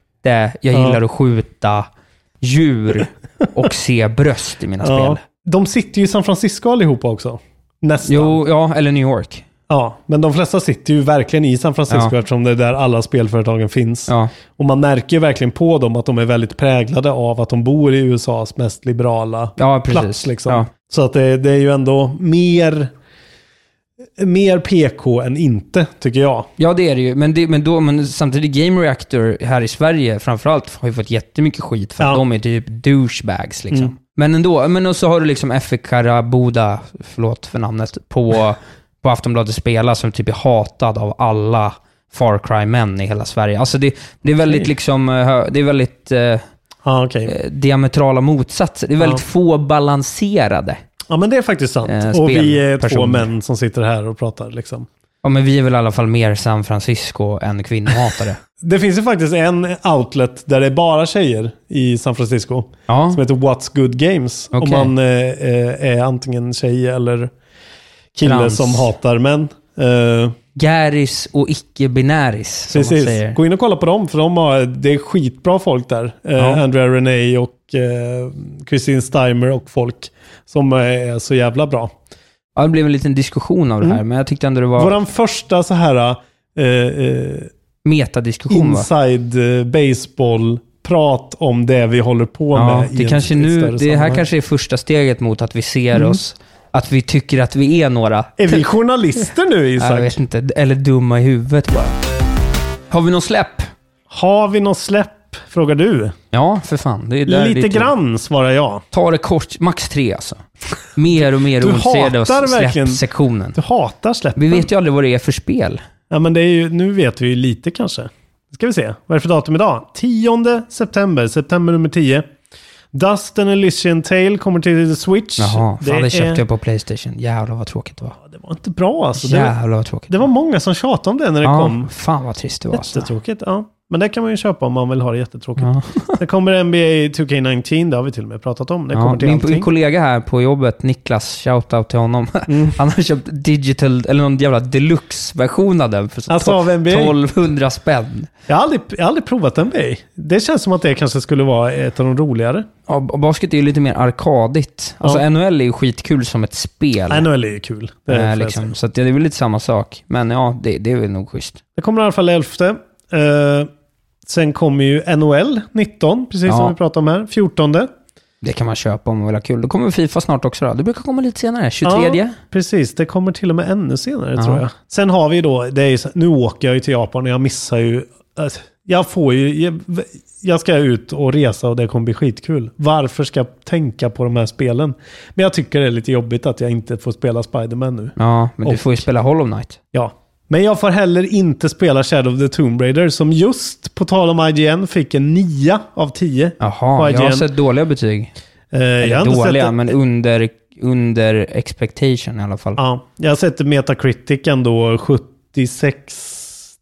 S3: jag
S4: Ja.
S3: gillar att skjuta djur och se bröst i mina
S4: Ja.
S3: spel.
S4: De sitter ju i San Francisco allihopa också. Nästan.
S3: Jo, ja, eller New York.
S4: Ja, men de flesta sitter ju verkligen i San Francisco
S3: Ja.
S4: eftersom det är där alla spelföretagen finns.
S3: Ja.
S4: Och man märker ju verkligen på dem att de är väldigt präglade av att de bor i USAs mest liberala
S3: Ja, precis.
S4: plats. Liksom.
S3: Ja.
S4: Så att det, det är ju ändå mer, mer PK än inte, tycker jag.
S3: Ja, det är det ju. Men, det, men, då, men samtidigt, Game Reactor här i Sverige framförallt har ju fått jättemycket skit för att
S4: Ja.
S3: de är typ douchebags liksom.
S4: Mm.
S3: Men ändå, men och så har du liksom FE Karabuda, förlåt för namnet, på, på Aftonbladet Spela som typ är hatad av alla Far Cry-män i hela Sverige. Alltså det, det är väldigt
S4: Okej.
S3: liksom, eh, hö- det är väldigt eh, eh,
S4: Ja, Ah, okej.
S3: diametrala motsatser. Det är väldigt
S4: Ja.
S3: få balanserade.
S4: Ja, men det är faktiskt sant.
S3: Eh,
S4: och vi är två
S3: spelpersoner.
S4: män som sitter här och pratar. Liksom.
S3: Ja, men vi är väl i alla fall mer San Francisco än kvinnohatare.
S4: Det finns ju faktiskt en outlet där det är bara tjejer i San Francisco.
S3: Ja.
S4: Som heter What's Good Games. Om
S3: Okej.
S4: man eh, eh, är antingen tjej eller kille
S3: Trans.
S4: som hatar män. Eh,
S3: Gäris och icke-binäris, som man
S4: precis.
S3: säger.
S4: Gå in och kolla på dem, för de har, det är skitbra folk där. Eh,
S3: Ja.
S4: Andrea Renee och eh, Christine Steimer och folk som eh, är så jävla bra.
S3: Ja, det blev en liten diskussion av det här,
S4: Mm.
S3: men jag tyckte ändå det var
S4: Vår första så här... Eh, eh,
S3: metadiskussion. Va?
S4: inside eh, baseball prat om det vi håller på
S3: Ja,
S4: med. i
S3: det
S4: ett-
S3: kanske
S4: ett
S3: nu,
S4: större
S3: det här
S4: sammanhang. Mm.
S3: kanske är första steget mot att vi ser oss, att vi tycker att vi är några.
S4: Är vi journalister nu
S3: Ja, Jag
S4: Isak?
S3: vet inte, eller dumma i huvudet bara. Har vi någon släpp?
S4: Har vi någon släpp? Frågar du.
S3: Ja, för fan. Det är där det
S4: Lite
S3: är till-
S4: grann svarar jag.
S3: Ta det kort, max tre alltså. Mer och mer
S4: Du
S3: ointresserade av
S4: hatar verkligen-
S3: släppsektionen.
S4: Du hatar släppen.
S3: Vi vet ju aldrig vad det är för spel.
S4: Ja, men det är ju, nu vet vi ju lite kanske. Nu ska vi se. Vad är det för datum idag? 10 september. September nummer 10. Dust and Elysian Tale kommer till The Switch.
S3: Jaha, fan det, köpte
S4: är-
S3: jag på Playstation. Jävlar vad tråkigt det var.
S4: Det var inte bra alltså. Det,
S3: Jävlar vad tråkigt.
S4: det var många som tjatade om det när det
S3: ja,
S4: kom.
S3: fan vad trist det var. alltså.
S4: Jättetråkigt. Ja. Men det kan man ju köpa om man vill ha det jättetråkigt. Sen kommer NBA 2K19, det har vi till och med pratat om. Det
S3: Ja,
S4: kommer till
S3: min, min
S4: allting.
S3: kollega här på jobbet, Niklas, shoutout till honom.
S4: Mm.
S3: Han har köpt digital, eller någon jävla deluxe-version av den för så
S4: Alltså, av NBA?
S3: 1200 spänn.
S4: Jag har, aldrig, jag har aldrig provat NBA. Det känns som att det kanske skulle vara ett av de roligare.
S3: Ja, b- basket är ju lite mer arkadigt. Alltså
S4: Ja.
S3: NHL är ju skitkul som ett spel.
S4: NHL är ju kul. Det,
S3: Eh,
S4: får jag säga.
S3: liksom. Så att det är väl lite samma sak. Men ja, det, det är väl nog schysst.
S4: det kommer i alla fall 11. Eh, sen kommer ju NHL 19, precis
S3: Ja.
S4: som vi pratade om här. 14.
S3: Det kan man köpa om man vill ha kul. Då kommer Fifa snart också då. Det brukar komma lite senare. 23.
S4: Ja, precis. Det kommer till och med ännu senare
S3: Ja.
S4: tror jag. Sen har vi då, det är ju, så- nu åker jag ju till Japan och jag missar ju... alltså, Jag får ju... Jag, jag ska ut och resa och det kommer bli skitkul. Varför ska jag tänka på de här spelen? Men jag tycker det är lite jobbigt att jag inte får spela Spider-Man nu.
S3: Ja, men du
S4: Och-
S3: får ju spela Hollow Knight.
S4: Ja. Men jag får heller inte spela Shadow of the Tomb Raider som just, på tal om IGN, fick en 9 av 10. på
S3: Jaha, jag har
S4: IGN.
S3: sett dåliga betyg.
S4: Eh, jag har
S3: Eller
S4: inte sett
S3: dåliga,
S4: det.
S3: men under, under expectation i alla fall.
S4: Ja, jag har sett Metacritic ändå, 76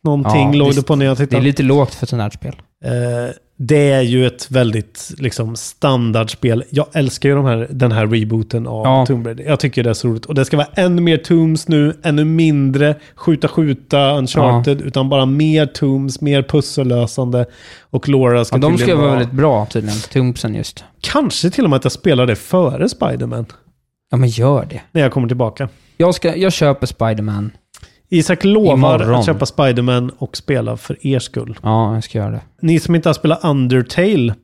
S3: Ja,
S4: någonting låg det
S3: visst.
S4: på när jag
S3: Det är
S4: tittade.
S3: lite lågt för ett sånt här spel.
S4: Eh, det är ju ett väldigt liksom, standardspel. Jag älskar ju de här, den här rebooten av
S3: Ja.
S4: Tomb Raider. Jag tycker det är så roligt. Och det ska vara ännu mer Tombs nu, ännu mindre skjuta skjuta Uncharted, utan bara mer Tombs, mer pussellösande. Och Laura ska
S3: Ja, de ska
S4: tydligen
S3: vara väldigt bra tydligen. Tumpsen just.
S4: Kanske till och med att jag spelar det före Spiderman,
S3: Ja, men gör det.
S4: när jag kommer tillbaka.
S3: Jag, ska, jag köper Spiderman.
S4: Isak lovar
S3: Imorgon.
S4: att köpa Spiderman och spela för er skull.
S3: Ja, jag ska göra det.
S4: Ni som inte har spelat Undertale,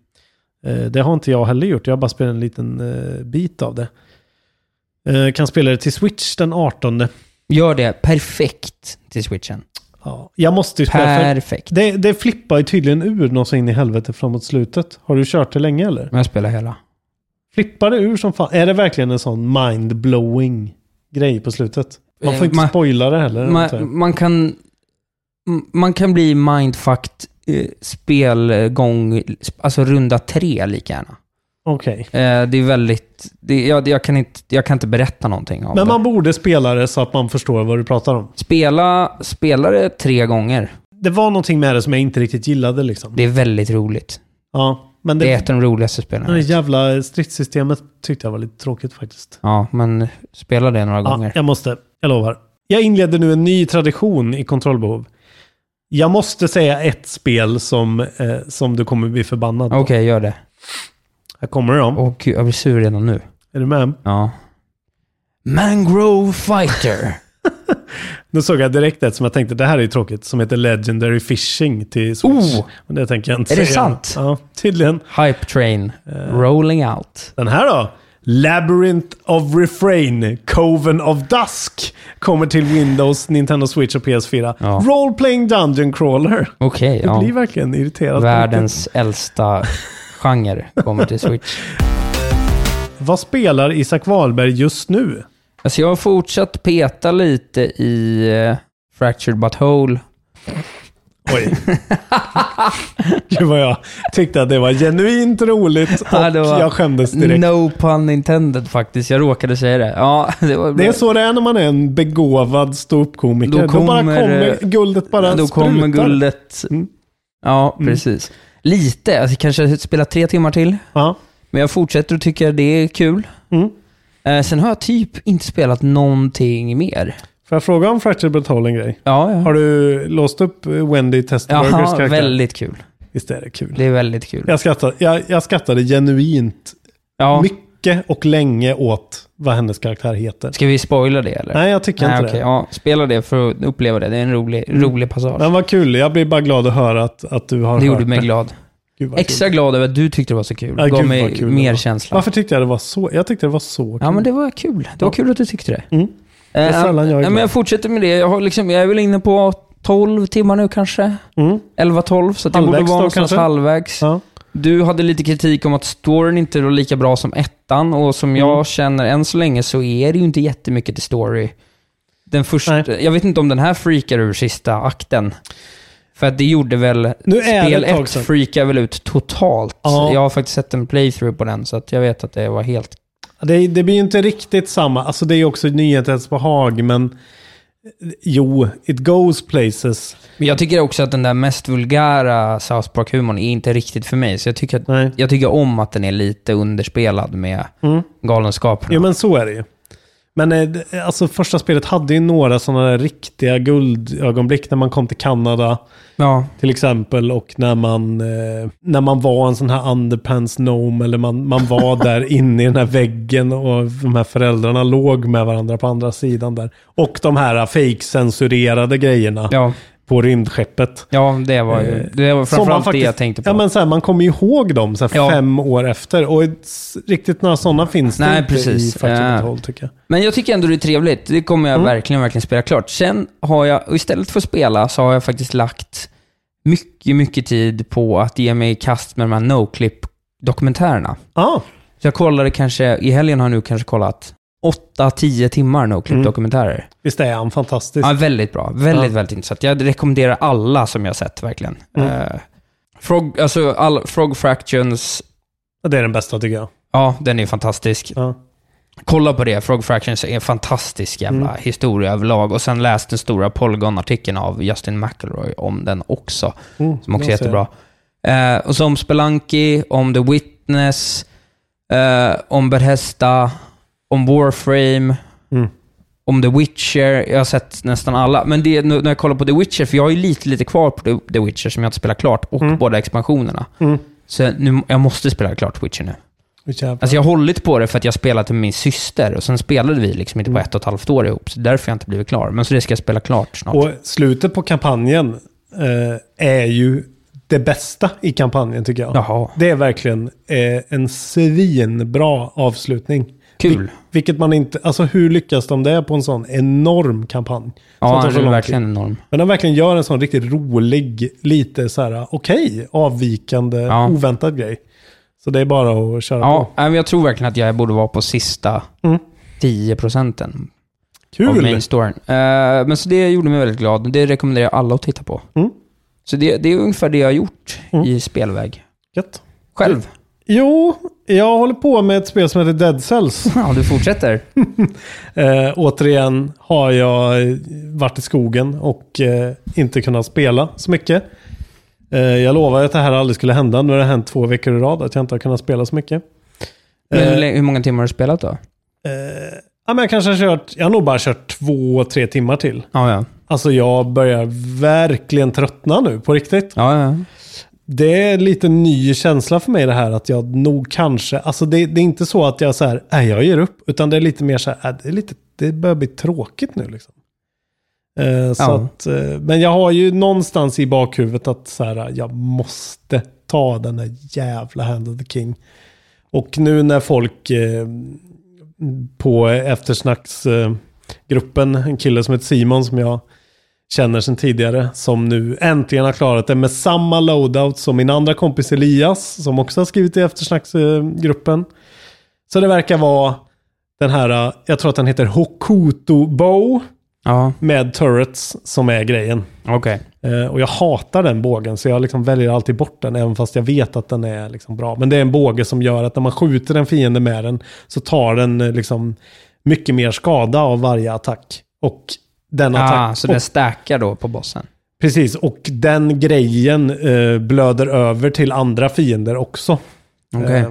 S4: eh, det har inte jag heller gjort. Jag har bara spelat en liten eh, bit av det. Eh, Kan spela det till Switch den 18.
S3: Gör det perfekt till switchen.
S4: Ja, jag måste ju spela för...
S3: Perfekt.
S4: Det, det flippar ju tydligen ur något så in i helvete framåt slutet. Har du kört det länge eller?
S3: Men jag spelar hela.
S4: Flippar det ur som fan? Är det verkligen en sån mind-blowing grej på slutet? Man får
S3: Eh,
S4: inte
S3: man-
S4: spoila det heller. antar jag.
S3: Man, man kan... m- Man kan bli mindfucked eh, spelgång, alltså runda tre lika gärna.
S4: Okej.
S3: Eh, det är väldigt... Det, jag, jag, kan inte, jag kan inte berätta någonting om
S4: Men
S3: det.
S4: man borde spela det så att man förstår vad du pratar om.
S3: Spela, spela det tre gånger.
S4: Det var någonting med det som jag inte riktigt gillade liksom.
S3: Det är väldigt roligt.
S4: Ja, men
S3: Det är
S4: det,
S3: ett av de roligaste
S4: det
S3: spelen.
S4: jävla stridssystemet tyckte jag var lite tråkigt faktiskt.
S3: Ja, men spela det några
S4: Ja,
S3: gånger.
S4: jag måste. Jag lovar. Jag inleder nu en ny tradition i kontrollbehov. Jag måste säga ett spel som, eh, som du kommer bli förbannad på.
S3: Okej, gör det.
S4: Här kommer de.
S3: Åh gud, jag blir sur redan nu.
S4: Är du med?
S3: Ja. Mangrove Fighter.
S4: Nu såg jag direkt ett som jag tänkte det här är ju tråkigt. Som heter Legendary Fishing till Switch.
S3: Oh!
S4: Men det tänker jag inte
S3: Är det
S4: säga.
S3: sant?
S4: Ja, tydligen.
S3: Hype Train.
S4: Eh.
S3: Rolling Out.
S4: Den här då? Labyrinth of Refrain, Coven of Dusk. Kommer till Windows, Nintendo Switch och PS4.
S3: Ja.
S4: Role playing Dungeon Crawler.
S3: Okej,
S4: Jag blir
S3: ja.
S4: verkligen irriterad.
S3: Världens äldsta genre kommer till Switch.
S4: Vad spelar Isak Wahlberg just nu?
S3: Alltså jag har fortsatt peta lite i eh, Fractured But Whole.
S4: Oj. Gud vad jag tyckte att det var genuint roligt och
S3: Ja, det var-
S4: jag skämdes direkt.
S3: No pun intended faktiskt. Jag råkade säga det. Ja, det var
S4: Det är så det är när man är en begåvad ståuppkomiker. Då,
S3: Då
S4: bara
S3: kommer,
S4: kommer
S3: eh,
S4: guldet bara
S3: Då kommer
S4: sprutar.
S3: guldet.
S4: Mm.
S3: Ja, precis. Lite. Alltså kanske spela tre timmar till.
S4: Ja.
S3: Men jag fortsätter och tycker det är kul.
S4: Mm.
S3: Eh, sen har jag typ inte spelat någonting mer.
S4: Får jag fråga om Fractured But Whole en grej?
S3: Ja, ja.
S4: Har du låst upp Wendy Testburgers
S3: Jaha,
S4: karaktär?
S3: väldigt kul.
S4: Visst är det kul?
S3: Det är väldigt kul.
S4: Jag, skrattade, jag, jag skrattade genuint
S3: Ja.
S4: mycket och länge åt vad hennes karaktär heter.
S3: Ska vi spoila det eller?
S4: Nej, jag tycker
S3: Nej,
S4: inte
S3: okej.
S4: det. Mm.
S3: Ja, spela det för att uppleva det. Det är en rolig, rolig passage.
S4: Men vad kul, jag blir bara glad att höra att, att du har
S3: Det
S4: hört
S3: gjorde mig glad.
S4: Gud, vad kul.
S3: Extra glad över att du tyckte det var så kul.
S4: Ja,
S3: Det gav
S4: gud, vad
S3: mig
S4: kul det var.
S3: mer känsla.
S4: Varför tyckte jag det var så? Jag tyckte det var så kul.
S3: Ja, men det var kul. Det var kul att du tyckte det.
S4: Mm.
S3: Eh,
S4: är sällan jag är
S3: ja,
S4: glad.
S3: men jag fortsätter med det. Jag, har liksom, jag är väl inne på 12 timmar nu kanske.
S4: Mm.
S3: 11-12, så att jag
S4: Halvvägs
S3: borde vara
S4: då,
S3: någonstans
S4: kanske?
S3: halvvägs.
S4: Ja.
S3: Du hade lite kritik om att storyn inte var lika bra som ettan och som
S4: Mm.
S3: jag känner än så länge så är det ju inte jättemycket till story. Den första,
S4: Nej.
S3: jag vet inte om den här freakar ur sista akten. För att det gjorde väl...
S4: Nu är det
S3: spel
S4: ett tag
S3: 1
S4: sedan.
S3: freakar väl ut totalt.
S4: Ja.
S3: Jag har faktiskt sett en playthrough på den, så att jag vet att det var helt...
S4: Det, det blir ju inte riktigt samma. Alltså det är ju också nyhetens behag, men Jo, it goes places.
S3: Men jag tycker också att den där mest vulgära South Park-humorn är inte riktigt för mig. Så jag tycker, att, jag tycker om att den är lite underspelad med
S4: Mm.
S3: galenskaperna.
S4: Jo, men så är det ju. Men eh, det- alltså första spelet hade ju några sådana där riktiga guldögonblick när man kom till Kanada.
S3: Ja.
S4: Till exempel och när man, eh, när man var en sån här underpants gnome eller man, man var där inne i den här väggen och de här föräldrarna låg med varandra på andra sidan där. Och de här fake-censurerade grejerna på rymdskeppet.
S3: Ja, det var ju... Det var
S4: Som
S3: framförallt
S4: Eh, man faktiskt-
S3: det jag tänkte på.
S4: Ja, men så här, man kommer ju ihåg dem så här,
S3: Ja.
S4: fem år efter. Och s- riktigt några sådana finns det
S3: Nej,
S4: inte
S3: precis.
S4: i Factory
S3: Ja.
S4: Control, tycker jag.
S3: Men jag tycker ändå det är trevligt. Det kommer
S4: Mm.
S3: jag verkligen, verkligen spela klart. Sen har jag, och istället för att spela, så har jag faktiskt lagt mycket, mycket tid på att ge mig i kast med de här no-clip-dokumentärerna.
S4: Ah.
S3: Så jag kollade kanske, i helgen har jag nu kanske kollat 8-10 timmar no-clip-dokumentärer.
S4: Mm. Visst är han fantastisk?
S3: Ja, väldigt bra. Väldigt,
S4: Ja.
S3: väldigt intressant. Jag rekommenderar alla som jag sett verkligen.
S4: Mm.
S3: Eh, Frog, alltså all, Frog Fractions,
S4: Ja, Det är den bästa tycker jag.
S3: ja, den är fantastisk.
S4: Ja.
S3: Kolla på det. Frog Fractions är en fantastisk jävla
S4: Mm.
S3: historia överlag. Och sen läs den stora Polygon-artikeln av Justin McElroy om den också.
S4: Mm,
S3: Som också är
S4: jag ser.
S3: jättebra. Eh, och så om Spelunky, om The Witness, eh, om Bethesda, om Warframe,
S4: Mm.
S3: om The Witcher. Jag har sett nästan alla. Men det, nu- när jag kollar på The Witcher, för jag har ju lite, lite kvar på The- The Witcher som jag inte spelar klart, och båda expansionerna.
S4: Mm.
S3: Så nu, jag måste spela klart Witcher nu.
S4: Åh, jävlar.
S3: Alltså jag har hållit på det för att jag spelat med min syster och sen spelade vi liksom
S4: Mm.
S3: inte på ett och ett halvt år ihop. Så därför har jag inte blivit klar. Men så det ska jag spela klart snart.
S4: Och slutet på kampanjen eh, är ju det bästa i kampanjen tycker jag.
S3: Jaha.
S4: Det är verkligen eh, en svinbra avslutning.
S3: Kul.
S4: Vil- vilket man inte, alltså hur lyckas de det på en sån enorm kampanj? Som
S3: ja,
S4: tar
S3: den
S4: så
S3: är
S4: lång
S3: verkligen
S4: tid.
S3: enorm.
S4: Men de verkligen gör en sån riktigt rolig, lite så här, okej, avvikande,
S3: Ja.
S4: oväntad grej. Så det är bara att köra
S3: Ja,
S4: på.
S3: nej, men jag tror verkligen att jag borde vara på sista
S4: Mm.
S3: 10 procenten av
S4: Kul!
S3: main storyn. Eh, men så det gjorde mig väldigt glad. Det rekommenderar jag alla att titta på.
S4: Mm.
S3: Så det, det är ungefär det jag har gjort
S4: Mm.
S3: i spelväg.
S4: Gött.
S3: Själv?
S4: Jo, jag håller på med ett spel som heter Dead Cells.
S3: Ja, du fortsätter.
S4: Eh, återigen har jag eh, varit i skogen och eh, inte kunnat spela så mycket. Eh, jag lovade att det här aldrig skulle hända. Nu har det hänt två veckor i rad att jag inte har kunnat spela så mycket.
S3: Men hur
S4: Eh.
S3: länge- hur många timmar har du spelat då?
S4: Ja, men jag, kanske har kört, jag har nog bara kört två, tre timmar till.
S3: Ja, ja.
S4: Alltså jag börjar verkligen tröttna nu på riktigt.
S3: ja, ja.
S4: Det är lite ny känsla för mig det här att jag nog kanske, alltså det, det är inte så att jag så här, nej jag ger upp, utan det är lite mer så här, äh, det, är lite, det börjar bli tråkigt nu liksom. Eh, så
S3: Ja.
S4: att, eh, men jag har ju någonstans i bakhuvudet att så här, jag måste ta den där jävla Hand of the King. Och nu när folk eh, på eftersnacksgruppen, eh, gruppen, en kille som heter Simon som jag känner sedan tidigare, som nu äntligen har klarat det med samma loadout som min andra kompis Elias, som också har skrivit i eftersnacksgruppen. Så det verkar vara den här, eh, jag tror att den heter Hokuto Bow
S3: Ja,
S4: med turrets som är grejen.
S3: okej.
S4: Eh, Och jag hatar den bågen, så jag liksom väljer alltid bort den, även fast jag vet att den är liksom bra. Men det är en båge som gör att när man skjuter en fiende med den, så tar den eh, liksom mycket mer skada av varje attack. Och den
S3: Ah,
S4: attack...
S3: så
S4: och,
S3: den stackar då på bossen?
S4: Precis, och den grejen eh, blöder över till andra fiender också.
S3: Okej.
S4: Eh,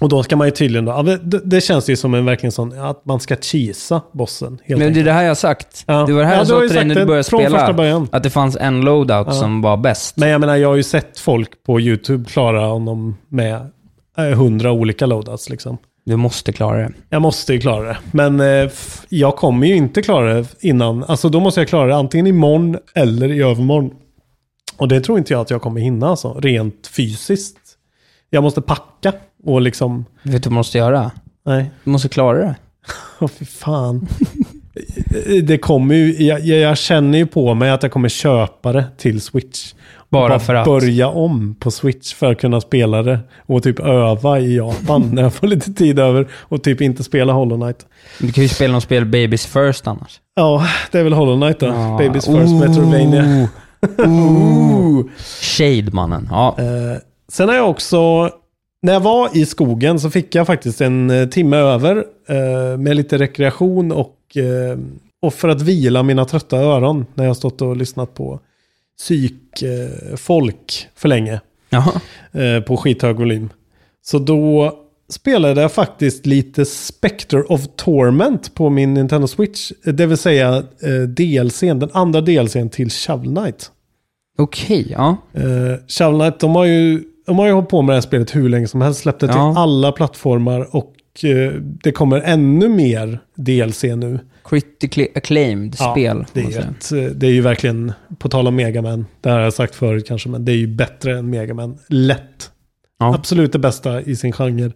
S4: och då ska man ju tydligen... Då, ja, det, det känns ju som en verkligen sån, att man ska cheesa bossen. Helt
S3: Men det är
S4: enkelt.
S3: det här jag har sagt.
S4: Ja.
S3: Det var det här
S4: Ja,
S3: jag
S4: du har
S3: sa
S4: ju
S3: till dig
S4: sagt
S3: när du
S4: det
S3: började
S4: från
S3: spela.
S4: första början.
S3: Att det fanns en loadout
S4: Ja.
S3: som var bäst.
S4: Men jag menar, jag har ju sett folk på YouTube klara honom med eh, hundra olika loadouts liksom.
S3: Du måste klara det.
S4: Jag måste ju klara det. Men eh, f- jag kommer ju inte klara det innan. Alltså då måste jag klara det antingen imorgon eller i övermorgon. Och det tror inte jag att jag kommer hinna alltså, rent fysiskt. Jag måste packa och liksom...
S3: Vet du vad du måste göra?
S4: Nej,
S3: Du måste klara det.
S4: åh fy fan. det kommer ju... Jag, jag, jag känner ju på mig att jag kommer köpa det till Switch.
S3: Bara
S4: Bara
S3: för att.
S4: börja om på Switch för att kunna spela det. Och typ öva i Japan när jag får lite tid över. Och typ inte spela Hollow Knight.
S3: Du kan ju spela något spel Babies First annars. Ah.
S4: Ja, det är väl Hollow Knight då.
S3: Ja.
S4: Babies First Metroidvania. Ooh.
S3: Shade, mannen. Ja.
S4: Eh, sen har jag också... När jag var i skogen så fick jag faktiskt en eh, timme över eh, med lite rekreation och, eh, Och för att vila mina trötta öron när jag stått och lyssnat på psykfolk för länge. Eh, På skithög volym. Så då spelade jag faktiskt lite Spectre of Torment på min Nintendo Switch. Eh, Det vill säga eh, DLCn, den andra DLCn till Shovel Knight.
S3: Okej, ja.
S4: Eh, Shovel Knight, de har, ju, de har ju hållit på med det här spelet hur länge som helst. Släppte till
S3: Ja.
S4: alla plattformar och eh, det kommer ännu mer DLC nu.
S3: Critically acclaimed spel.
S4: det,
S3: får man
S4: är
S3: säga.
S4: ett, eh, det är ju verkligen, på tal om Megaman, det här har jag sagt förut kanske, men det är ju bättre än Megaman. Lätt.
S3: Ja.
S4: Absolut det bästa i sin genre.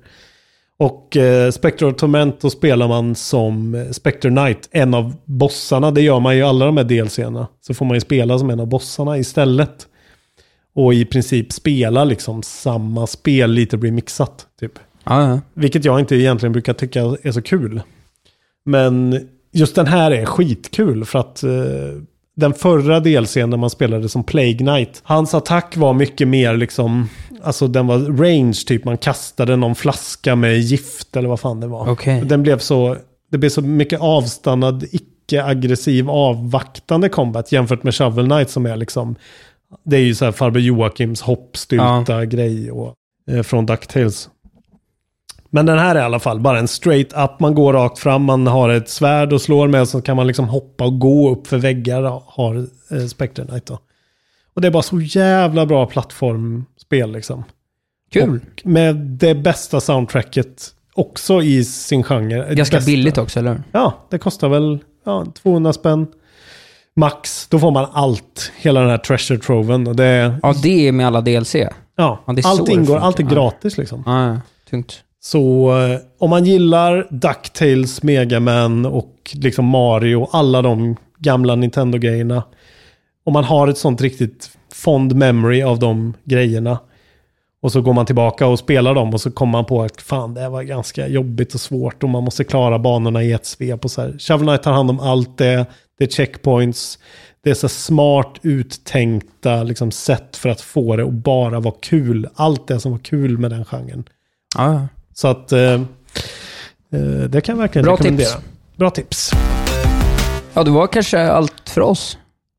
S4: Och eh, Spectre of Torment, då spelar man som eh, Spectre Knight, en av bossarna. Det gör man ju i alla de här DLCerna. Så får man ju spela som en av bossarna istället. Och i princip spela liksom samma spel, lite remixat typ.
S3: Ja, ja.
S4: Vilket jag inte egentligen brukar tycka är så kul. Men just den här är skitkul för att eh, den förra delscenen när man spelade som Plague Knight, hans attack var mycket mer liksom, alltså den var range typ, man kastade någon flaska med gift eller vad fan det var.
S3: Okej.
S4: Den blev så, det blev så mycket avstannad, icke-aggressiv, avvaktande combat jämfört med Shovel Knight som är liksom, det är ju så här farbror Joakims hoppstylta grej och, eh, från DuckTales. Men den här är i alla fall bara en straight up. Man går rakt fram, man har ett svärd och slår med. Så kan man liksom hoppa och gå upp för väggar. Har eh, Spectre Knight då. Och det är bara så jävla bra plattformspel liksom.
S3: Kul.
S4: Och med det bästa soundtracket också i sin genre.
S3: Ganska
S4: Bästa.
S3: billigt också, eller hur?
S4: Ja, det kostar väl ja, 200 spänn. Max, då får man allt. Hela den här treasure troven. Och det, är-
S3: Ja, det är med alla DLC. Ja,
S4: ja,
S3: Ja, det är så
S4: allt
S3: det
S4: ingår,
S3: funkar.
S4: allt är
S3: Ja.
S4: gratis liksom.
S3: ja. tungt.
S4: Så eh, om man gillar DuckTales, Mega Man och liksom Mario, alla de gamla Nintendo-grejerna. Om man har ett sånt riktigt fond memory av de grejerna. Och så går man tillbaka och spelar dem och så kommer man på att fan det här var ganska jobbigt och svårt och man måste klara banorna i ett svep och så här. Shovel Knight tar hand om allt det. Det är checkpoints. Det är så här smart uttänkta liksom, sätt för att få det att bara vara kul. Allt det som var kul med den genren.
S3: Ja, ja.
S4: Så att eh, eh, det kan jag verkligen
S3: Bra
S4: rekommendera.
S3: tips.
S4: Bra tips.
S3: ja, det var kanske allt för oss.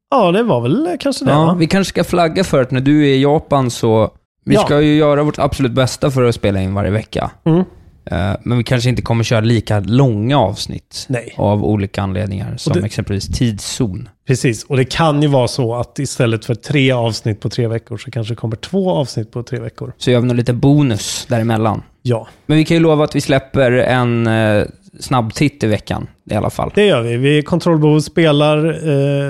S4: Ja, det var väl eh, kanske det.
S3: Ja,
S4: va?
S3: vi kanske ska flagga för att när du är i Japan så... Vi
S4: Ja.
S3: ska ju göra vårt absolut bästa för att spela in varje vecka.
S4: Mm.
S3: Eh, Men vi kanske inte kommer köra lika långa avsnitt
S4: Nej.
S3: av olika anledningar, som
S4: det-
S3: exempelvis tidszon.
S4: Precis, och det kan ju vara så att istället för tre avsnitt på tre veckor så kanske det kommer två avsnitt på tre veckor.
S3: Så gör vi nog lite bonus däremellan.
S4: Ja,
S3: Men vi kan ju lova att vi släpper en eh, snabbtitt i veckan i alla fall.
S4: det gör vi. vi Kontrollbehov spelar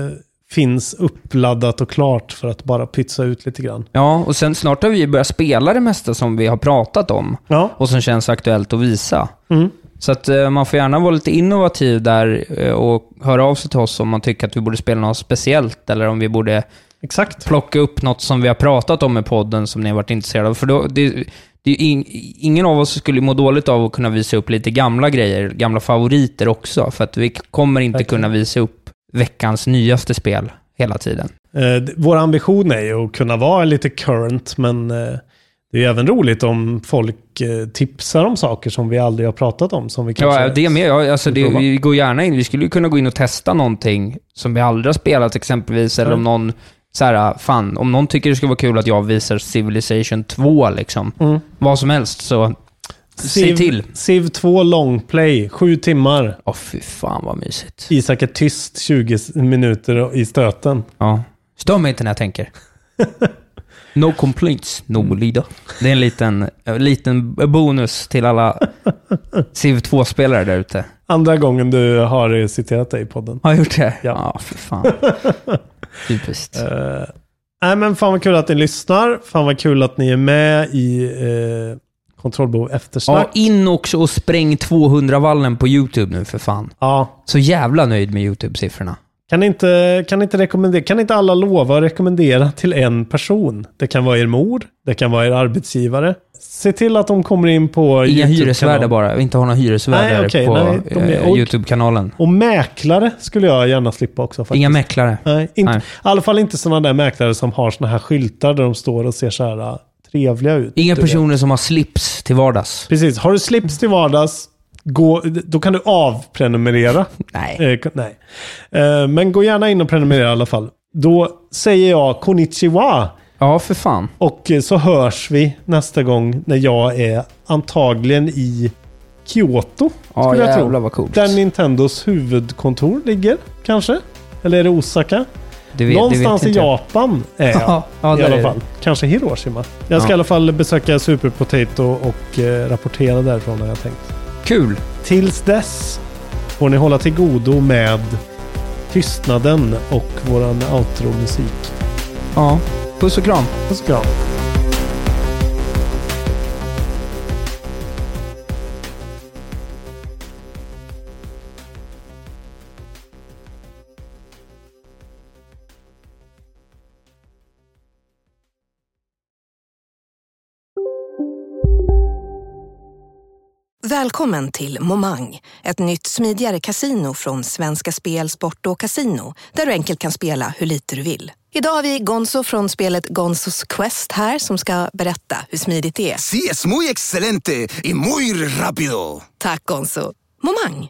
S4: eh, finns uppladdat och klart för att bara pytsa ut lite grann.
S3: Ja, och sen snart har vi ju börjat spela det mesta som vi har pratat om
S4: Ja,
S3: och som känns aktuellt att visa.
S4: Mm.
S3: Så att eh, man får gärna vara lite innovativ där eh, och höra av sig till oss om man tycker att vi borde spela något speciellt eller om vi borde
S4: exakt.
S3: plocka upp något som vi har pratat om i podden som ni har varit intresserade av. För då, det, det är ju in, ingen av oss skulle må dåligt av att kunna visa upp lite gamla grejer, gamla favoriter också, för att vi kommer inte
S4: Verkligen.
S3: kunna visa upp veckans nyaste spel hela tiden.
S4: Eh, d- vår ambition är ju att kunna vara lite current, men eh, det är ju även roligt om folk eh, tipsar om saker som vi aldrig har pratat om. Som vi kanske...
S3: Ja, det med. Ja, alltså det,
S4: prova.
S3: vi går gärna in. Vi skulle ju kunna gå in och testa någonting som vi aldrig har spelat exempelvis, eller om någon så här, fan, om någon tycker det skulle vara kul att jag visar Civilization 2, liksom. Vad som helst, så säg till.
S4: Mm. Civ 2 longplay, sju timmar.
S3: Åh, fy fan vad mysigt.
S4: Isak är tyst 20 s- minuter i stöten.
S3: Ja. Stör mig inte när jag tänker. No complaints,
S4: Mm.
S3: no leader. Det är en liten, en liten bonus till alla Civ 2-spelare där ute.
S4: Andra gången du har citerat dig i podden.
S3: Har jag gjort det?
S4: Ja.
S3: Ja, för fan. Typiskt.
S4: Eh, nej men fan vad kul att ni lyssnar. Fan vad kul att ni är med i uh, Kontrollbehov
S3: Ja,
S4: eftersnack. Ja,
S3: in också och spräng 200-vallen på YouTube nu för fan.
S4: ja.
S3: Så jävla nöjd med YouTube-siffrorna.
S4: Kan, ni inte, kan, ni inte rekommendera, kan ni inte alla lova att rekommendera till en person? Det kan vara er mor, det kan vara er arbetsgivare. Se till att de kommer in på
S3: Inga
S4: YouTube-kanalen.
S3: hyresvärdar bara. Vi inte har några hyresvärdar
S4: Nej, okej,
S3: på
S4: nej, de är-
S3: eh,
S4: och-
S3: YouTube-kanalen.
S4: Och mäklare skulle jag gärna slippa också. Faktiskt.
S3: Inga mäklare.
S4: Nej, inte,
S3: Nej.
S4: i alla fall inte sådana där mäklare som har sådana här skyltar där de står och ser så här äh, trevliga ut.
S3: Inga
S4: Du vet.
S3: personer som har slips till vardags.
S4: Precis. Har du slips till vardags, gå, då kan du avprenumerera.
S3: Nej.
S4: Eh, nej. Eh, men gå gärna in och prenumerera i alla fall. Då säger jag konnichiwa.
S3: Ja, för fan.
S4: Och eh, så hörs vi nästa gång när jag är antagligen i Kyoto.
S3: Ja,
S4: skulle jag
S3: jävlar
S4: tro.
S3: vad coolt.
S4: Där Nintendos huvudkontor ligger, kanske? Eller är det Osaka?
S3: Du vet- det
S4: Någonstans
S3: vet
S4: i
S3: inte jag.
S4: Japan är jag.
S3: Ja, ja,
S4: I
S3: där är
S4: alla
S3: det.
S4: fall. Kanske Hiroshima. Jag ska
S3: Ja.
S4: i alla fall besöka Super Potato och eh, rapportera därifrån har jag tänkt.
S3: Kul!
S4: Tills dess får ni hålla till godo med tystnaden och våran outro-musik.
S3: Ja, puss och kram.
S4: Puss och kram.
S6: Välkommen till Momang, ett nytt smidigare casino från Svenska Spel, Sport och Casino, där du enkelt kan spela hur lite du vill. Idag har vi Gonzo från spelet Gonzos Quest här som ska berätta hur smidigt det är.
S7: Sí, es muy excelente y muy rápido.
S6: Tack Gonzo! Momang,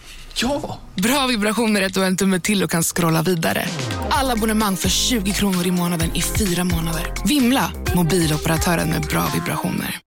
S8: Ja! Bra vibrationer är att du har en tumme till och kan scrolla vidare. Alla abonnemang för 20 kronor i månaden i fyra månader. Vimla! Mobiloperatören med bra vibrationer.